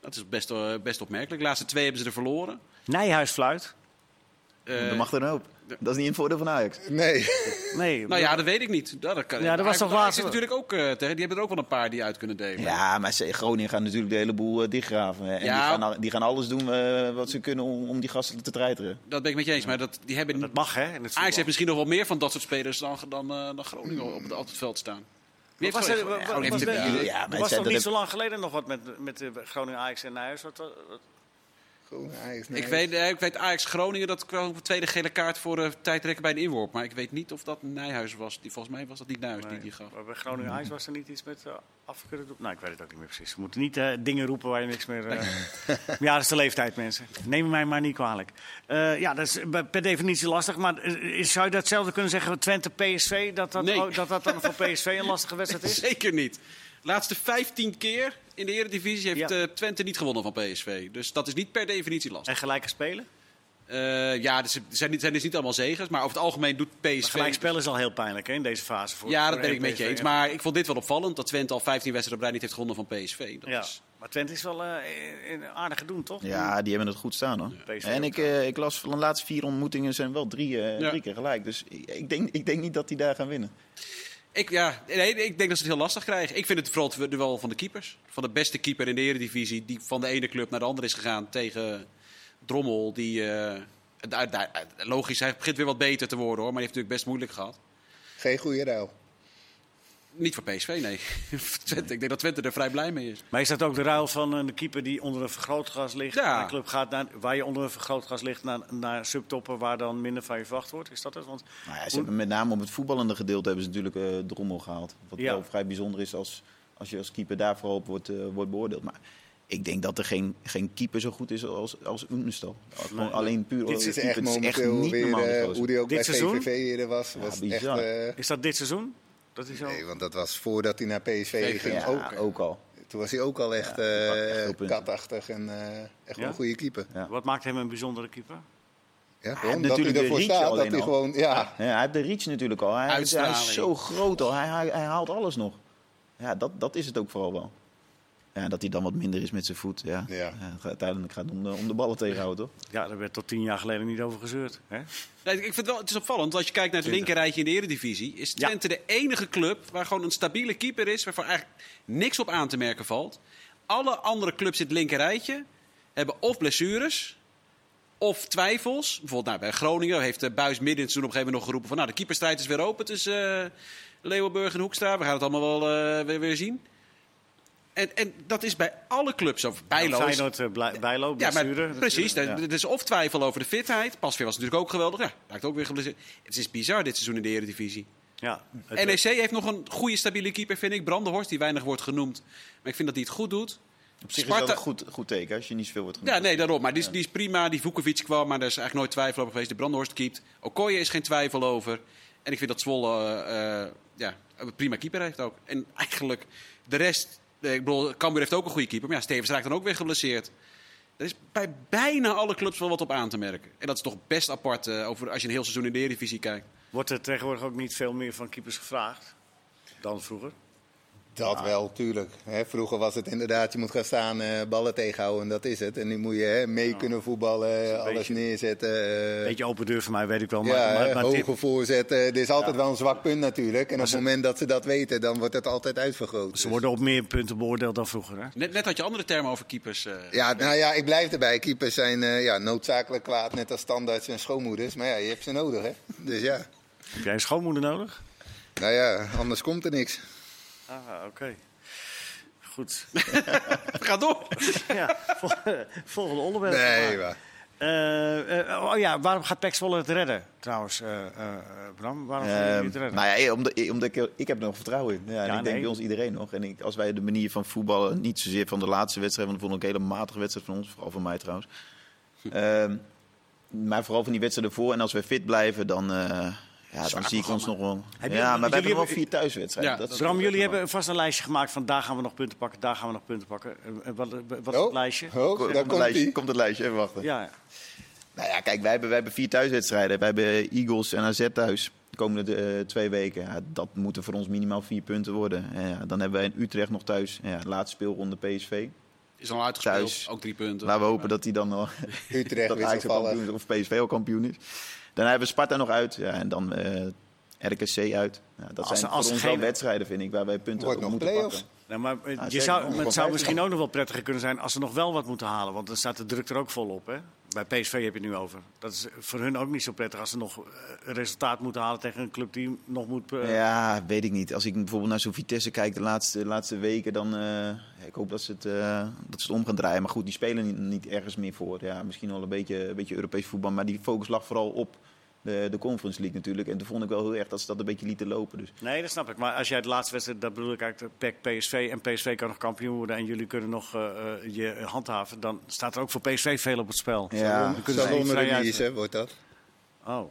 [SPEAKER 2] Dat is best, eh, best opmerkelijk. De laatste twee hebben ze er verloren.
[SPEAKER 1] Nijhuis fluit.
[SPEAKER 2] Eh,
[SPEAKER 4] Dat mag er een hoop. Dat is niet in voordeel van Ajax.
[SPEAKER 3] nee,
[SPEAKER 1] Nee,
[SPEAKER 2] nou ja, dat weet ik niet. Ja, dat kan,
[SPEAKER 1] Ja, dat was
[SPEAKER 2] Ajax-
[SPEAKER 1] toch
[SPEAKER 2] Ajax
[SPEAKER 1] laatst-
[SPEAKER 2] is natuurlijk ook eh, tegen. Die hebben er ook wel een paar die uit kunnen delen.
[SPEAKER 4] Ja, maar ze- Groningen gaat natuurlijk de hele boel eh, dichtgraven. hè. En
[SPEAKER 2] Ja.
[SPEAKER 4] die, gaan, al- die gaan alles doen eh, wat ze kunnen om, om die gasten te treiteren.
[SPEAKER 2] Dat ben ik met je eens. Maar dat, die hebben,
[SPEAKER 1] dat mag hè. In het
[SPEAKER 2] Ajax heeft
[SPEAKER 1] voetbal.
[SPEAKER 2] misschien nog wel meer van dat soort spelers dan, dan, eh, dan Groningen op het, op het veld staan. Wie heeft
[SPEAKER 1] Was er- wa-
[SPEAKER 2] Groningen-
[SPEAKER 1] wa-
[SPEAKER 2] Groningen
[SPEAKER 1] was
[SPEAKER 2] heeft
[SPEAKER 1] er-
[SPEAKER 2] er-
[SPEAKER 4] ja,
[SPEAKER 1] Er
[SPEAKER 4] maar het
[SPEAKER 1] was
[SPEAKER 4] zijn-
[SPEAKER 1] toch niet
[SPEAKER 4] dat
[SPEAKER 1] zo lang geleden nog wat met, met eh, Groningen, Ajax en Nijhuis? Wat, wat- wat-
[SPEAKER 3] Goed, Ajax, nee.
[SPEAKER 2] Ik weet, eh, ik weet Ajax Groningen, dat kwam op de tweede gele kaart voor eh, tijdrekken bij een inworp. Maar ik weet niet of dat Nijhuis was. Die, volgens mij was dat niet Nijhuis die
[SPEAKER 1] nee.
[SPEAKER 2] die gaf.
[SPEAKER 1] Maar bij Groningen, Ajax was er niet iets met eh, afkeuren doen? Nou, ik weet het ook niet meer precies. We moeten niet eh, dingen roepen waar je niks meer... eh ja, dat is de leeftijd, mensen. Neem mij maar niet kwalijk. Eh, ja, dat is bij- per definitie lastig. Maar eh, is- zou je datzelfde kunnen zeggen van Twente, PSV? Dat dat,
[SPEAKER 2] Nee.
[SPEAKER 1] ook- dat dat dan voor PSV een lastige wedstrijd is?
[SPEAKER 2] Zeker niet. Laatste 15 keer in de Eredivisie heeft
[SPEAKER 1] Ja.
[SPEAKER 2] eh, Twente niet gewonnen van PSV. Dus dat is niet per definitie lastig.
[SPEAKER 1] En gelijke spelen?
[SPEAKER 2] Eh, ja, dus het zijn, niet- zijn dus niet allemaal zegens. Maar over het algemeen doet PSV...
[SPEAKER 1] Gelijk spelen is al heel pijnlijk hè, in deze fase. Voor,
[SPEAKER 2] Ja, dat
[SPEAKER 1] voor
[SPEAKER 2] ben ik met
[SPEAKER 1] PSV.
[SPEAKER 2] je eens. Maar ik vond dit wel opvallend. Dat Twente al 15 wedstrijden op rij niet heeft gewonnen van PSV. Dat
[SPEAKER 1] Ja.
[SPEAKER 2] is...
[SPEAKER 1] Maar Twente is wel eh, een aardig gedoen, toch?
[SPEAKER 4] Ja, die hebben het goed staan hoor.
[SPEAKER 1] PSV
[SPEAKER 4] En
[SPEAKER 1] ook
[SPEAKER 4] ik, eh, ik las van de laatste vier ontmoetingen zijn wel drie, eh,
[SPEAKER 2] Ja.
[SPEAKER 4] drie keer gelijk. Dus ik, ik denk, ik denk niet dat die daar gaan winnen.
[SPEAKER 2] Ik, ja, nee, ik denk dat ze het heel lastig krijgen. Ik vind het vooral het duel van de keepers. Van de beste keeper in de eredivisie, die van de ene club naar de andere is gegaan tegen Drommel. Die, eh, daar- daar- logisch, hij begint weer wat beter te worden hoor, maar die heeft natuurlijk best moeilijk gehad.
[SPEAKER 3] Geen goede ruil.
[SPEAKER 2] Niet voor PSV, nee. Voor Twente. Ik denk dat Twente er vrij blij mee is.
[SPEAKER 1] Maar is dat ook de ruil van een keeper die onder een vergrootglas ligt?
[SPEAKER 2] Ja.
[SPEAKER 1] Naar een club gaat naar, waar je onder een vergrootglas ligt naar, naar subtoppen waar dan minder van je verwacht wordt? Is dat het? Want
[SPEAKER 4] Nou ja, ze
[SPEAKER 1] Hoe-
[SPEAKER 4] hebben met name op het voetballende gedeelte hebben ze natuurlijk eh, drommel gehaald. Wat
[SPEAKER 1] Ja.
[SPEAKER 4] wel vrij bijzonder is als, als je als keeper daar vooral op wordt, eh, wordt beoordeeld. Maar ik denk dat er geen, geen keeper zo goed is als, als Oenestal. Gewoon Alleen puur
[SPEAKER 1] Dit
[SPEAKER 4] als
[SPEAKER 3] Het is
[SPEAKER 4] keeper.
[SPEAKER 3] echt
[SPEAKER 4] Het is echt
[SPEAKER 3] momenteel
[SPEAKER 4] niet
[SPEAKER 3] weer,
[SPEAKER 4] normaal, die
[SPEAKER 3] eh,
[SPEAKER 4] gozer.
[SPEAKER 3] hoe die ook
[SPEAKER 1] Dit
[SPEAKER 3] bij
[SPEAKER 1] seizoen?
[SPEAKER 3] GVV eerder was. was echt,
[SPEAKER 4] bizar.
[SPEAKER 3] eh,
[SPEAKER 1] is dat dit seizoen? Dat is al...
[SPEAKER 3] nee, want dat was voordat hij naar PSV ging
[SPEAKER 4] ja,
[SPEAKER 3] ook.
[SPEAKER 4] ook, al.
[SPEAKER 3] Toen was hij ook al echt,
[SPEAKER 4] pakt echt
[SPEAKER 3] eh,
[SPEAKER 4] veel punten.
[SPEAKER 3] katachtig en eh, echt wel
[SPEAKER 1] Ja?
[SPEAKER 3] een goede keeper.
[SPEAKER 4] Ja.
[SPEAKER 1] Wat maakt hem een bijzondere keeper?
[SPEAKER 3] Ja,
[SPEAKER 4] heeft
[SPEAKER 3] gewoon dat hij
[SPEAKER 4] natuurlijk de
[SPEAKER 3] ervoor
[SPEAKER 4] reach
[SPEAKER 3] staat, dat
[SPEAKER 4] alleen
[SPEAKER 3] hij
[SPEAKER 4] al.
[SPEAKER 3] gewoon... Ja,
[SPEAKER 4] Ja, hij heeft de reach natuurlijk al. Hij, hij
[SPEAKER 2] Uitstraling.
[SPEAKER 4] is zo groot al. Hij, hij, hij haalt alles nog. Ja, dat, dat is het ook vooral wel. Ja, dat hij dan wat minder is met zijn voet. Ja.
[SPEAKER 3] Ja.
[SPEAKER 4] Ja, het gaat- uiteindelijk gaat het om de, om de ballen tegenhouden, toch?
[SPEAKER 1] Ja, daar werd tot tien jaar geleden niet over gezeurd. Hè?
[SPEAKER 2] Nee, ik vind het wel, het is opvallend, als je kijkt naar het
[SPEAKER 1] Twintig.
[SPEAKER 2] linkerrijtje in de Eredivisie, is
[SPEAKER 1] Ja.
[SPEAKER 2] Twente de enige club waar gewoon een stabiele keeper is, waarvan eigenlijk niks op aan te merken valt. Alle andere clubs in het linkerrijtje hebben of blessures, of twijfels. Bijvoorbeeld nou, bij Groningen heeft eh, Buis midden in het seizoen op een gegeven moment nog geroepen van, nou, de keeperstrijd is weer open tussen eh, Leeuwenburg en Hoekstra. We gaan het allemaal wel eh, weer, weer zien. En, en dat is bij alle clubs, of Bijlo is-
[SPEAKER 1] Feyenoord, eh, Bla- Bijlo,
[SPEAKER 2] ja, maar
[SPEAKER 1] besturen.
[SPEAKER 2] precies.
[SPEAKER 4] ja.
[SPEAKER 2] Het is of twijfel over de fitheid. Pasveer was natuurlijk ook geweldig. Ja, raakt ook weer geblesseerd. Het is bizar dit seizoen in de Eredivisie.
[SPEAKER 1] Ja, het-
[SPEAKER 2] NEC heeft nog een goede stabiele keeper, vind ik. Brandenhorst, die weinig wordt genoemd. Maar ik vind dat hij het goed doet.
[SPEAKER 4] Op zich is dat een goed, goed teken als je niet zoveel wordt genoemd.
[SPEAKER 2] Ja, nee, daarom. Maar die is, die is prima. Die Vukovic kwam, maar daar is eigenlijk nooit twijfel over geweest. De Brandenhorst keept. Okoye is geen twijfel over. En ik vind dat Zwolle eh, eh, ja, een prima keeper heeft ook. En eigenlijk de rest... eh, Ik bedoel, Cambuur heeft ook een goede keeper. Maar ja, Stevens raakt dan ook weer geblesseerd. Er is bij bijna alle clubs wel wat op aan te merken. En dat is toch best apart eh, over, als je een heel seizoen in de Eredivisie kijkt.
[SPEAKER 1] eh, Wordt er tegenwoordig ook niet veel meer van keepers gevraagd dan vroeger?
[SPEAKER 3] Dat wel, tuurlijk. Hè, vroeger was het inderdaad, je moet gaan staan, eh, ballen tegenhouden en dat is het. En nu moet je hè, mee kunnen voetballen, alles
[SPEAKER 1] beetje-
[SPEAKER 3] neerzetten. eh,
[SPEAKER 1] Beetje open deur voor mij, weet ik wel. Maar,
[SPEAKER 3] ja,
[SPEAKER 1] maar,
[SPEAKER 3] hè,
[SPEAKER 1] maar
[SPEAKER 3] hoge
[SPEAKER 1] dit-
[SPEAKER 3] voorzetten. Er is altijd wel een zwak punt natuurlijk. En op het moment dat ze dat weten, dan wordt het altijd uitvergroot.
[SPEAKER 1] ze
[SPEAKER 3] Dus-
[SPEAKER 1] worden op meer punten beoordeeld dan vroeger. Hè?
[SPEAKER 2] Net, net had je andere termen over keepers. eh.
[SPEAKER 3] Ja, nou ja, ik blijf erbij. Keepers zijn eh, ja, noodzakelijk kwaad, net als standaards en schoonmoeders. Maar ja, je hebt ze nodig, hè. Dus ja,
[SPEAKER 1] Heb jij een schoonmoeder nodig?
[SPEAKER 3] nou ja, anders komt er niks.
[SPEAKER 1] Ah, oké. Goed.
[SPEAKER 2] Ga door!
[SPEAKER 1] ja, vol- volgende onderwerp.
[SPEAKER 4] eh,
[SPEAKER 3] Nee,
[SPEAKER 1] Maar-
[SPEAKER 3] maar.
[SPEAKER 1] Eh, eh, oh ja, waarom gaat Pek Zwolle het redden trouwens, eh, eh, eh, Bram? Waarom gaan jullie
[SPEAKER 4] Ehm,
[SPEAKER 1] het redden?
[SPEAKER 4] nou ja, eh, omdat, eh, omdat ik, ik heb er nog vertrouwen in. Ja, en
[SPEAKER 1] Ja,
[SPEAKER 4] ik denk
[SPEAKER 1] nee.
[SPEAKER 4] bij ons iedereen nog. En ik, als wij de manier van voetballen, niet zozeer van de laatste wedstrijd, want ik vond het ook een hele matige wedstrijd van ons, vooral van mij trouwens.
[SPEAKER 1] Hm.
[SPEAKER 4] Ehm, maar vooral van die wedstrijden ervoor. En als wij fit blijven, dan, eh, ja, dan zie ik ons nog wel.
[SPEAKER 1] Hebben jullie-
[SPEAKER 4] ja, maar wij
[SPEAKER 1] jullie
[SPEAKER 4] hebben wel
[SPEAKER 1] hebben-
[SPEAKER 4] vier thuiswedstrijden.
[SPEAKER 2] Ja,
[SPEAKER 4] dat is
[SPEAKER 1] Dus Bram,
[SPEAKER 4] wel
[SPEAKER 1] jullie
[SPEAKER 4] echt wel-
[SPEAKER 1] hebben vast een lijstje gemaakt van daar gaan we nog punten pakken, daar gaan we nog punten pakken. Eh, eh, wat, wat is
[SPEAKER 3] Oh,
[SPEAKER 1] het lijstje?
[SPEAKER 3] oh,
[SPEAKER 4] Ko-
[SPEAKER 3] daar
[SPEAKER 4] komt, het
[SPEAKER 3] komt
[SPEAKER 4] lijstje,
[SPEAKER 3] hij.
[SPEAKER 4] komt het lijstje, even wachten.
[SPEAKER 1] Ja,
[SPEAKER 4] Nou ja, kijk, wij hebben, wij hebben vier thuiswedstrijden. Wij hebben Eagles en AZ thuis de komende eh, twee weken. Ja, dat moeten voor ons minimaal vier punten worden. En ja, dan hebben wij in Utrecht nog thuis. Ja, laatste speelronde PSV.
[SPEAKER 2] Is al uitgespeeld.
[SPEAKER 4] Thuis. Nou.
[SPEAKER 2] Ook drie punten.
[SPEAKER 4] Laten we hopen dat hij dan wel
[SPEAKER 3] Utrecht
[SPEAKER 4] dat
[SPEAKER 3] weer
[SPEAKER 4] Ajax
[SPEAKER 3] zo
[SPEAKER 4] al kampioen
[SPEAKER 3] vallen.
[SPEAKER 4] is of PSV al kampioen is. Daarna hebben we Sparta nog uit. Ja, en dan eh, RKC uit. Ja, dat
[SPEAKER 1] Als-
[SPEAKER 4] zijn
[SPEAKER 1] als
[SPEAKER 4] voor ons
[SPEAKER 1] geen-
[SPEAKER 4] wel wedstrijden, vind ik, waar wij punten
[SPEAKER 3] Wordt
[SPEAKER 4] op
[SPEAKER 3] nog
[SPEAKER 4] moeten
[SPEAKER 3] play-offs.
[SPEAKER 4] pakken.
[SPEAKER 1] Nou, maar eh,
[SPEAKER 4] Ah,
[SPEAKER 1] je
[SPEAKER 4] zeker.
[SPEAKER 1] zou, maar het zou
[SPEAKER 4] Gewoon 15.
[SPEAKER 1] misschien ook nog wel prettiger kunnen zijn als ze nog wel wat moeten halen. Want dan staat de druk er ook vol op. Hè? Bij PSV heb je het nu over. Dat is voor hun ook niet zo prettig als ze nog eh, een resultaat moeten halen tegen een club die nog moet. eh,
[SPEAKER 4] Ja, weet ik niet. Als ik bijvoorbeeld naar zo'n Vitesse kijk de laatste, laatste weken, dan... eh, ik hoop dat ze, het, eh, dat ze het om gaan draaien. Maar goed, die spelen niet, niet ergens meer voor. Ja, misschien wel een beetje, een beetje Europees voetbal. Maar die focus lag vooral op de, de Conference League natuurlijk. En toen vond ik wel heel erg dat ze dat een beetje lieten lopen. Dus
[SPEAKER 1] Nee, dat snap ik. Maar als jij het laatste wedstrijd, dat bedoel ik eigenlijk PEC, PSV. En PSV kan nog kampioen worden en jullie kunnen nog eh, eh, je handhaven. Dan staat er ook voor PSV veel op het spel.
[SPEAKER 4] Ja.
[SPEAKER 1] Dan kunnen ze
[SPEAKER 3] Salon
[SPEAKER 1] niet vrij uit-
[SPEAKER 3] release, hè, wordt dat.
[SPEAKER 1] Oh.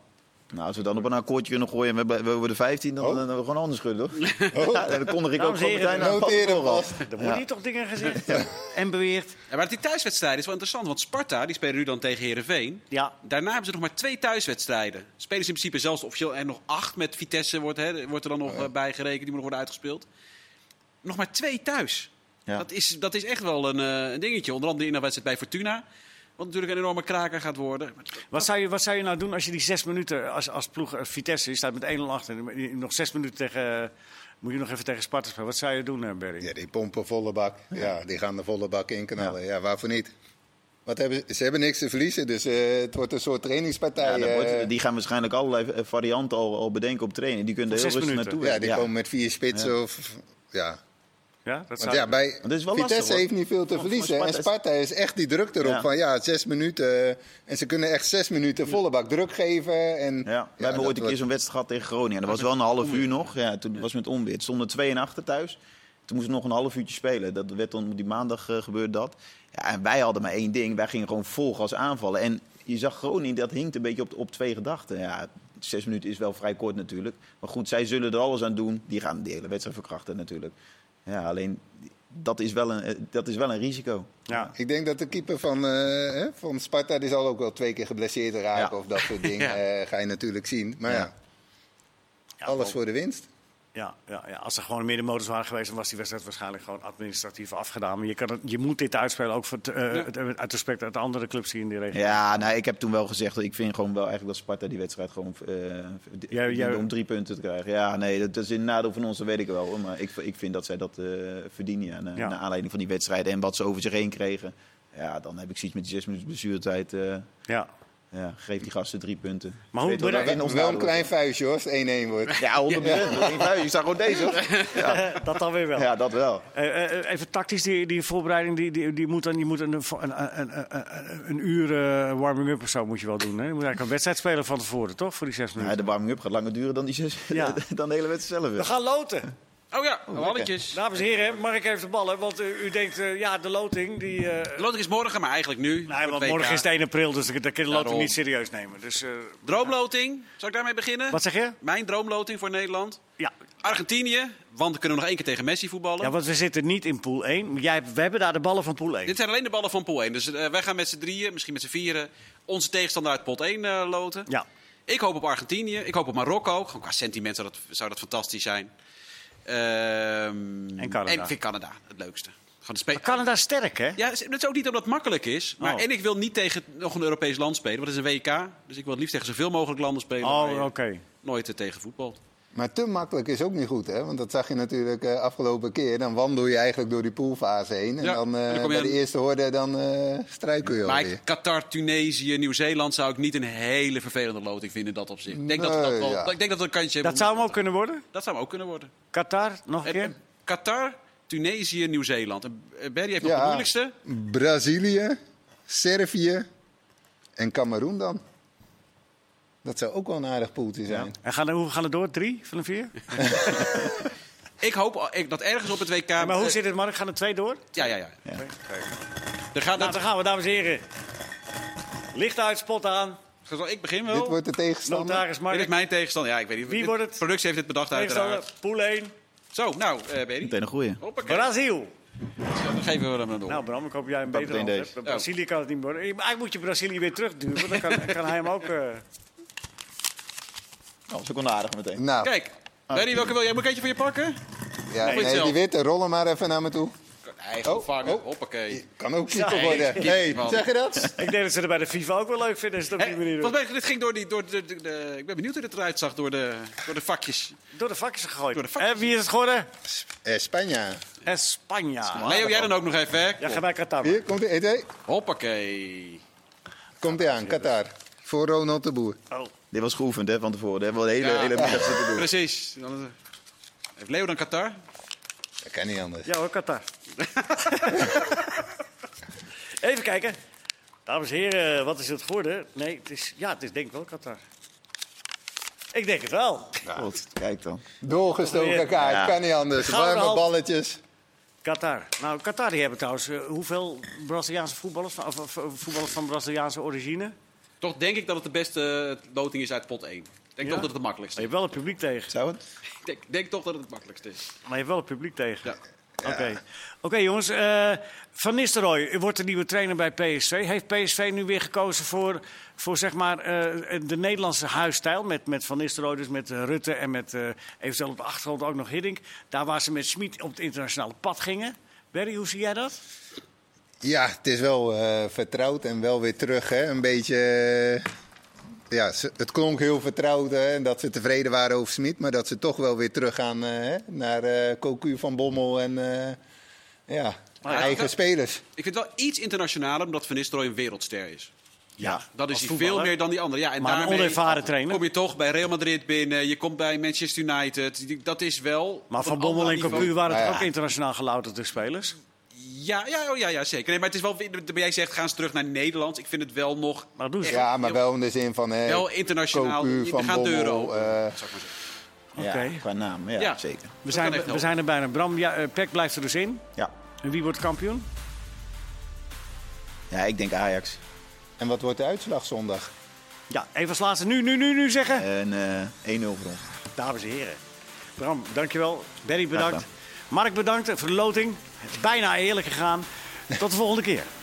[SPEAKER 4] nou, als we dan op een akkoordje kunnen gooien en we, hebben- we worden 15, dan,
[SPEAKER 3] Oh.
[SPEAKER 4] dan, dan we gewoon anders schudden, hoor. Ja, dan kondig ik ook
[SPEAKER 1] Dames en
[SPEAKER 4] gewoon
[SPEAKER 1] heren,
[SPEAKER 4] meteen aan.
[SPEAKER 3] Noteren vast.
[SPEAKER 1] Er worden hier toch dingen gezegd en beweerd.
[SPEAKER 2] Ja, maar die thuiswedstrijden is wel interessant. Want Sparta, die spelen nu dan tegen Herenveen.
[SPEAKER 1] Ja,
[SPEAKER 2] Daarna hebben ze nog maar twee thuiswedstrijden. Spelen ze in principe zelfs officieel en nog acht met Vitesse wordt, hè, wordt er dan nog eh, bij gerekend. Die moet nog worden uitgespeeld. Nog maar twee thuis.
[SPEAKER 4] Ja.
[SPEAKER 2] Dat, is, dat is echt wel een, eh, een dingetje. Onder andere in de wedstrijd bij Fortuna. Wat natuurlijk een enorme kraker gaat worden. Oh Maar
[SPEAKER 1] Wat zou, je, wat zou je nou doen als je die zes minuten als, als ploeg eh, Vitesse, je staat met 1-0 achter, en je- nog zes minuten tegen, eh, moet je nog even tegen Sparta spelen. Wat zou je doen, eh, Barry?
[SPEAKER 3] Ja, die pompen volle bak. Ja, die gaan de volle bak inknallen. Ja, waarvoor niet? Wat hebben ze, ze hebben niks te verliezen, dus eh, het wordt een soort trainingspartij. eh.
[SPEAKER 4] Ja,
[SPEAKER 3] Ja,
[SPEAKER 4] dan wordt- die gaan waarschijnlijk allerlei eh, varianten al, al bedenken op trainen. Die kunnen
[SPEAKER 1] Op
[SPEAKER 4] er heel
[SPEAKER 1] zes
[SPEAKER 4] rustig
[SPEAKER 1] minuten.
[SPEAKER 3] ja,
[SPEAKER 4] naartoe.
[SPEAKER 3] die
[SPEAKER 4] Ja.
[SPEAKER 3] komen met vier spitsen of... Ja,
[SPEAKER 1] Ja, dat
[SPEAKER 3] want
[SPEAKER 1] zou
[SPEAKER 3] ja, bij
[SPEAKER 4] dat is wel
[SPEAKER 3] Vitesse
[SPEAKER 4] lastig, hoor.
[SPEAKER 3] heeft niet veel te verliezen.
[SPEAKER 4] Sparta
[SPEAKER 3] en
[SPEAKER 4] is-
[SPEAKER 3] Sparta is echt die druk erop
[SPEAKER 4] Ja.
[SPEAKER 3] van ja, zes minuten. eh, En ze kunnen echt zes minuten volle bak druk geven. En,
[SPEAKER 4] Ja, we hebben
[SPEAKER 3] dat
[SPEAKER 4] ooit een keer
[SPEAKER 3] wordt-
[SPEAKER 4] zo'n wedstrijd gehad tegen Groningen. Dat was wel een half uur nog. Ja, toen was het met onweer. Het stonden twee en achter thuis. Toen moesten we nog een half uurtje spelen. Dat werd dan op die maandag eh, gebeurde dat. Ja, en wij hadden maar één ding. Wij gingen gewoon vol gas aanvallen. En je zag Groningen, dat hinkt een beetje op, op twee gedachten. Ja, zes minuten is wel vrij kort natuurlijk. Maar goed, zij zullen er alles aan doen. Die gaan die hele wedstrijd verkrachten natuurlijk. Ja, alleen dat is wel een, eh, dat is wel een risico.
[SPEAKER 1] ja.
[SPEAKER 3] Ik denk dat de keeper van, eh, hè, van Sparta die zal ook wel twee keer geblesseerd raken
[SPEAKER 4] Ja.
[SPEAKER 3] of dat soort dingen.
[SPEAKER 2] Ja.
[SPEAKER 3] eh, ga je natuurlijk zien. Maar ja,
[SPEAKER 4] Ja.
[SPEAKER 3] alles voor de winst.
[SPEAKER 1] Ja, ja, ja, als er gewoon een middenmodus waren geweest, dan was die wedstrijd waarschijnlijk gewoon administratief afgedaan. Maar je, kan het, je moet dit uitspelen, ook voor het, eh,
[SPEAKER 2] Ja.
[SPEAKER 1] het- uit respect uit de andere clubs hier in die regio.
[SPEAKER 4] Ja, nou, ik heb toen wel gezegd, dat ik vind gewoon wel eigenlijk dat Sparta die wedstrijd gewoon eh, d-
[SPEAKER 1] Jij- jij-
[SPEAKER 4] om drie punten te krijgen. Ja, nee, dat is in nadeel van ons, dat weet ik wel. hoor. Maar ik, ik vind dat zij dat eh, verdienen, ja, na,
[SPEAKER 1] Ja.
[SPEAKER 4] naar aanleiding van die wedstrijd en wat ze over zich heen kregen. Ja, dan heb ik zoiets met die zes minuten blessuretijd. eh,
[SPEAKER 1] Ja.
[SPEAKER 4] ja, geef die gasten drie punten.
[SPEAKER 1] Maar hoe
[SPEAKER 4] Weet wel
[SPEAKER 1] bereik-
[SPEAKER 4] dat in ons
[SPEAKER 3] Wel een
[SPEAKER 4] nadeel
[SPEAKER 3] klein vuistje hoor, als het 1-1 wordt.
[SPEAKER 4] is. Ja, 100 procent. Ik zag gewoon deze. hoor.
[SPEAKER 1] dat dan weer wel.
[SPEAKER 4] Ja, dat wel.
[SPEAKER 1] Eh, eh, eh, even tactisch, die, die voorbereiding, die, die, die moet dan, je moet een, vo- een, een, een- een, een uur eh, warming-up of zo moet je wel doen. Hè? Je moet eigenlijk een wedstrijd spelen van tevoren, toch? Voor die zes
[SPEAKER 4] Ja,
[SPEAKER 1] minuten.
[SPEAKER 4] de warming-up gaat langer duren dan, die zes,
[SPEAKER 1] Ja.
[SPEAKER 4] dan de hele wedstrijd zelf.
[SPEAKER 1] We gaan loten.
[SPEAKER 2] Oh ja, walletjes.
[SPEAKER 1] Dames en heren, mag ik even de ballen? Want eh, u denkt, eh, ja, de loting die... eh,
[SPEAKER 2] De loting is morgen, maar eigenlijk nu.
[SPEAKER 1] Nee,
[SPEAKER 2] Voor
[SPEAKER 1] want
[SPEAKER 2] het
[SPEAKER 1] morgen
[SPEAKER 2] WK.
[SPEAKER 1] is het 1 april, dus dat kan je de loting
[SPEAKER 2] Daarom.
[SPEAKER 1] niet serieus nemen. Dus, eh,
[SPEAKER 2] Droomloting, zal ik daarmee beginnen?
[SPEAKER 1] wat zeg je?
[SPEAKER 2] Mijn droomloting voor Nederland.
[SPEAKER 1] Ja.
[SPEAKER 2] Argentinië, want we kunnen nog één keer tegen Messi voetballen.
[SPEAKER 1] ja, want we zitten niet in pool 1. Jij, hebt- we hebben daar de ballen van pool 1.
[SPEAKER 2] Dit zijn alleen de ballen van pool 1. Dus eh, wij gaan met z'n drieën, misschien met z'n vieren, onze tegenstander uit pot 1 eh, loten.
[SPEAKER 1] Ja.
[SPEAKER 2] Ik hoop op Argentinië. Ik hoop op Marokko. Gewoon qua sentiment zou dat, zou dat fantastisch zijn. Ehm,
[SPEAKER 1] En Canada.
[SPEAKER 2] En ik vind Canada het leukste. Gewoon de spe-
[SPEAKER 1] Maar Canada is sterk, hè?
[SPEAKER 2] Ja, het is ook niet omdat het makkelijk is. Maar,
[SPEAKER 1] Oh.
[SPEAKER 2] En ik wil niet tegen nog een Europees land spelen. Want het is een WK. Dus ik wil het liefst tegen zoveel mogelijk landen spelen. waar
[SPEAKER 1] Oh,
[SPEAKER 2] je
[SPEAKER 1] oké.
[SPEAKER 2] Nooit er tegen voetbal.
[SPEAKER 3] Maar te makkelijk is ook niet goed, hè? Want dat zag je natuurlijk eh afgelopen keer. Dan wandel je eigenlijk door die poolfase heen. En
[SPEAKER 2] Ja,
[SPEAKER 3] dan, eh,
[SPEAKER 2] en dan kom je
[SPEAKER 3] bij de
[SPEAKER 2] aan-
[SPEAKER 3] eerste horde, dan eh struikel je
[SPEAKER 2] Maar
[SPEAKER 3] alweer.
[SPEAKER 2] Qatar, Tunesië, Nieuw-Zeeland zou ik niet een hele vervelende loting vinden in dat opzicht. Ik denk dat we dat
[SPEAKER 3] Nee,
[SPEAKER 2] wel,
[SPEAKER 3] ja.
[SPEAKER 2] ik denk dat we een kansje
[SPEAKER 1] Dat
[SPEAKER 2] hebben. om-
[SPEAKER 1] zou hem ook kunnen worden.
[SPEAKER 2] dat zou hem ook kunnen worden.
[SPEAKER 1] Qatar, nog een
[SPEAKER 2] Eh, eh,
[SPEAKER 1] keer.
[SPEAKER 2] Qatar, Tunesië, Nieuw-Zeeland. En, eh, Barry heeft nog
[SPEAKER 3] Ja.
[SPEAKER 2] de moeilijkste.
[SPEAKER 3] Brazilië, Servië en Cameroen dan. Dat zou ook wel een aardig poeltje zijn.
[SPEAKER 1] En gaan, hoe gaan er door? Drie van de vier?
[SPEAKER 2] Ik hoop al- ik, dat ergens op het WK...
[SPEAKER 1] maar hoe
[SPEAKER 2] eh,
[SPEAKER 1] zit het, Mark? Gaan er twee door?
[SPEAKER 2] Ja, ja, ja. Er gaat,
[SPEAKER 1] Nou, daar gaan we, dames en heren. Licht uit, spot aan.
[SPEAKER 2] dat, ik begin
[SPEAKER 3] Dit
[SPEAKER 2] wel.
[SPEAKER 3] wordt de tegenstander.
[SPEAKER 1] Notaris
[SPEAKER 2] Dit is
[SPEAKER 1] Mark.
[SPEAKER 2] mijn tegenstander. Ja, ik weet niet.
[SPEAKER 1] Wie
[SPEAKER 2] Dit-
[SPEAKER 1] wordt het?
[SPEAKER 2] Productie heeft dit bedacht uiteraard.
[SPEAKER 1] tegenstander, Pool 1,
[SPEAKER 2] Zo, nou, eh Barry.
[SPEAKER 4] Meteen een goeie.
[SPEAKER 2] Hoppakee.
[SPEAKER 1] Brazil.
[SPEAKER 2] Dan geven we hem een door.
[SPEAKER 1] Nou, Bram, ik hoop jij een
[SPEAKER 4] Dat
[SPEAKER 1] betere hand
[SPEAKER 4] meteen
[SPEAKER 1] hebt.
[SPEAKER 4] deze.
[SPEAKER 1] Brazilië kan het niet worden. Eigenlijk moet je Brazilië weer terugduwen. Dan kan, kan hij hem ook... eh,
[SPEAKER 4] Oh, dat is ook wel aardig meteen.
[SPEAKER 3] Nou,
[SPEAKER 2] Kijk,
[SPEAKER 1] Ah.
[SPEAKER 2] Barry, welke wil jij? Moet ik eentje voor je pakken?
[SPEAKER 3] ja,
[SPEAKER 2] nee,
[SPEAKER 3] nee,
[SPEAKER 2] zelf.
[SPEAKER 3] die witte, rollen maar even naar me toe.
[SPEAKER 2] Nee, goed
[SPEAKER 3] Oh,
[SPEAKER 2] vangen.
[SPEAKER 3] oh.
[SPEAKER 2] Hoppakee.
[SPEAKER 3] Kan ook keeper
[SPEAKER 2] Nee,
[SPEAKER 3] worden.
[SPEAKER 2] keeper
[SPEAKER 3] Nee,
[SPEAKER 2] van-
[SPEAKER 3] zeg je dat?
[SPEAKER 1] Ik denk dat ze er bij de FIFA ook wel leuk vinden als ze het op
[SPEAKER 2] Hè,
[SPEAKER 1] die manier
[SPEAKER 2] Volgens
[SPEAKER 1] doen.
[SPEAKER 2] mij, dit ging door die... Door de, de, de- ik ben benieuwd hoe dit eruit zag door de, door de vakjes.
[SPEAKER 1] Door de vakjes gegooid.
[SPEAKER 2] Door de vakjes.
[SPEAKER 1] En wie is het geworden?
[SPEAKER 3] Eh, Spanje.
[SPEAKER 1] Espanja.
[SPEAKER 2] Leo, jij dan ook nog even, hè?
[SPEAKER 1] Ah, Ja, ga bij Qatar. maar.
[SPEAKER 3] Hier, komt hij hey,
[SPEAKER 2] Hoppakee.
[SPEAKER 3] komt hij aan, Qatar. Voor Ronald de Boer.
[SPEAKER 1] Oh.
[SPEAKER 4] Dit was geoefend, hè, van tevoren. Hè. We hebben de hele,
[SPEAKER 2] Ja.
[SPEAKER 4] hele middag zitten doen.
[SPEAKER 2] Precies. Dan, eh, heeft Leo dan Qatar?
[SPEAKER 3] Dat kan niet anders.
[SPEAKER 1] Ja hoor, Qatar. Even kijken. Dames en heren, wat is het geworden? Nee, het is, ja, het is denk ik wel Qatar. Ik denk het wel.
[SPEAKER 4] God, kijk dan.
[SPEAKER 3] Doorgestoken kaart,
[SPEAKER 4] Ja.
[SPEAKER 3] kan niet anders.
[SPEAKER 1] Gouden
[SPEAKER 3] Warme
[SPEAKER 1] hand.
[SPEAKER 3] balletjes.
[SPEAKER 1] Qatar. Nou, Qatar die hebben trouwens eh, hoeveel Braziliaanse voetballers van, of, of, of voetballers van Braziliaanse origine?
[SPEAKER 2] Toch denk ik dat het de beste eh, loting is uit pot 1. Ik denk
[SPEAKER 1] Ja?
[SPEAKER 2] toch dat het het makkelijkste
[SPEAKER 1] Je
[SPEAKER 2] is.
[SPEAKER 1] hebt wel het publiek tegen.
[SPEAKER 4] Zou het?
[SPEAKER 2] Ik denk, denk toch dat het het makkelijkste is.
[SPEAKER 1] Maar je hebt wel het publiek tegen.
[SPEAKER 2] Ja.
[SPEAKER 1] Oké, Oké, jongens. eh, van Nistelrooy wordt de nieuwe trainer bij PSV. Heeft PSV nu weer gekozen voor, voor zeg maar, eh, de Nederlandse huisstijl? Met, met Van Nistelrooy, dus met eh, Rutte en met eh, eventueel op de achtergrond ook nog Hiddink. Daar waar ze met Smit op het internationale pad gingen. Berry, hoe zie jij dat?
[SPEAKER 3] Ja, het is wel eh, vertrouwd en wel weer terug. Hè? Een beetje. eh, ja, ze- het klonk heel vertrouwd hè, en dat ze tevreden waren over Smit. Maar dat ze toch wel weer teruggaan eh, hè, naar eh Cocu van Bommel en. eh, ja,
[SPEAKER 2] ja,
[SPEAKER 3] eigen
[SPEAKER 2] dat-
[SPEAKER 3] spelers.
[SPEAKER 2] Ik vind het wel iets internationaler, omdat Van Nistelrooy een wereldster is.
[SPEAKER 1] Ja,
[SPEAKER 2] Dat
[SPEAKER 1] als
[SPEAKER 2] is hij
[SPEAKER 1] voetballer.
[SPEAKER 2] veel meer dan die andere. Ja, en
[SPEAKER 1] Maar een
[SPEAKER 2] daarmee
[SPEAKER 1] onervaren trainer.
[SPEAKER 2] Kom je toch bij Real Madrid binnen, je komt bij Manchester United. Dat is wel...
[SPEAKER 1] Maar
[SPEAKER 2] op
[SPEAKER 1] Van
[SPEAKER 2] een
[SPEAKER 1] Bommel
[SPEAKER 2] ander
[SPEAKER 1] en
[SPEAKER 2] niveau.
[SPEAKER 1] Cocu waren
[SPEAKER 3] Nou
[SPEAKER 1] het
[SPEAKER 3] ja.
[SPEAKER 1] ook internationaal gelouterde spelers.
[SPEAKER 2] Ja, ja, oh, ja, ja, zeker. Nee, maar het is wel... Jij zegt, gaan ze terug naar Nederland. Ik vind het wel nog...
[SPEAKER 1] Maar dat doen ze.
[SPEAKER 3] Ja, maar wel in de zin van. hè,
[SPEAKER 2] Wel internationaal.
[SPEAKER 3] Cocu
[SPEAKER 2] Er
[SPEAKER 3] van
[SPEAKER 2] gaan
[SPEAKER 3] Bommel.
[SPEAKER 2] deuren open.
[SPEAKER 3] eh,
[SPEAKER 2] Zal ik maar zeggen.
[SPEAKER 1] Oké.
[SPEAKER 4] Ja, qua naam, ja,
[SPEAKER 2] Ja.
[SPEAKER 4] zeker.
[SPEAKER 1] We,
[SPEAKER 2] Dat
[SPEAKER 1] zijn,
[SPEAKER 2] kan echt
[SPEAKER 1] we
[SPEAKER 2] wel.
[SPEAKER 1] zijn er bijna. Bram, ja, eh, Peck blijft er dus in.
[SPEAKER 4] Ja.
[SPEAKER 1] En wie wordt kampioen?
[SPEAKER 4] ja, ik denk Ajax.
[SPEAKER 3] en wat wordt de uitslag zondag?
[SPEAKER 1] Ja, even als laatste nu, nu, nu, nu zeggen.
[SPEAKER 4] En eh 1-0 voor ons.
[SPEAKER 1] Dames en heren. Bram, dankjewel. Berry,
[SPEAKER 4] Graag
[SPEAKER 1] bedankt. Mark, bedankt voor de loting. Bijna eerlijk gegaan. Tot de volgende keer.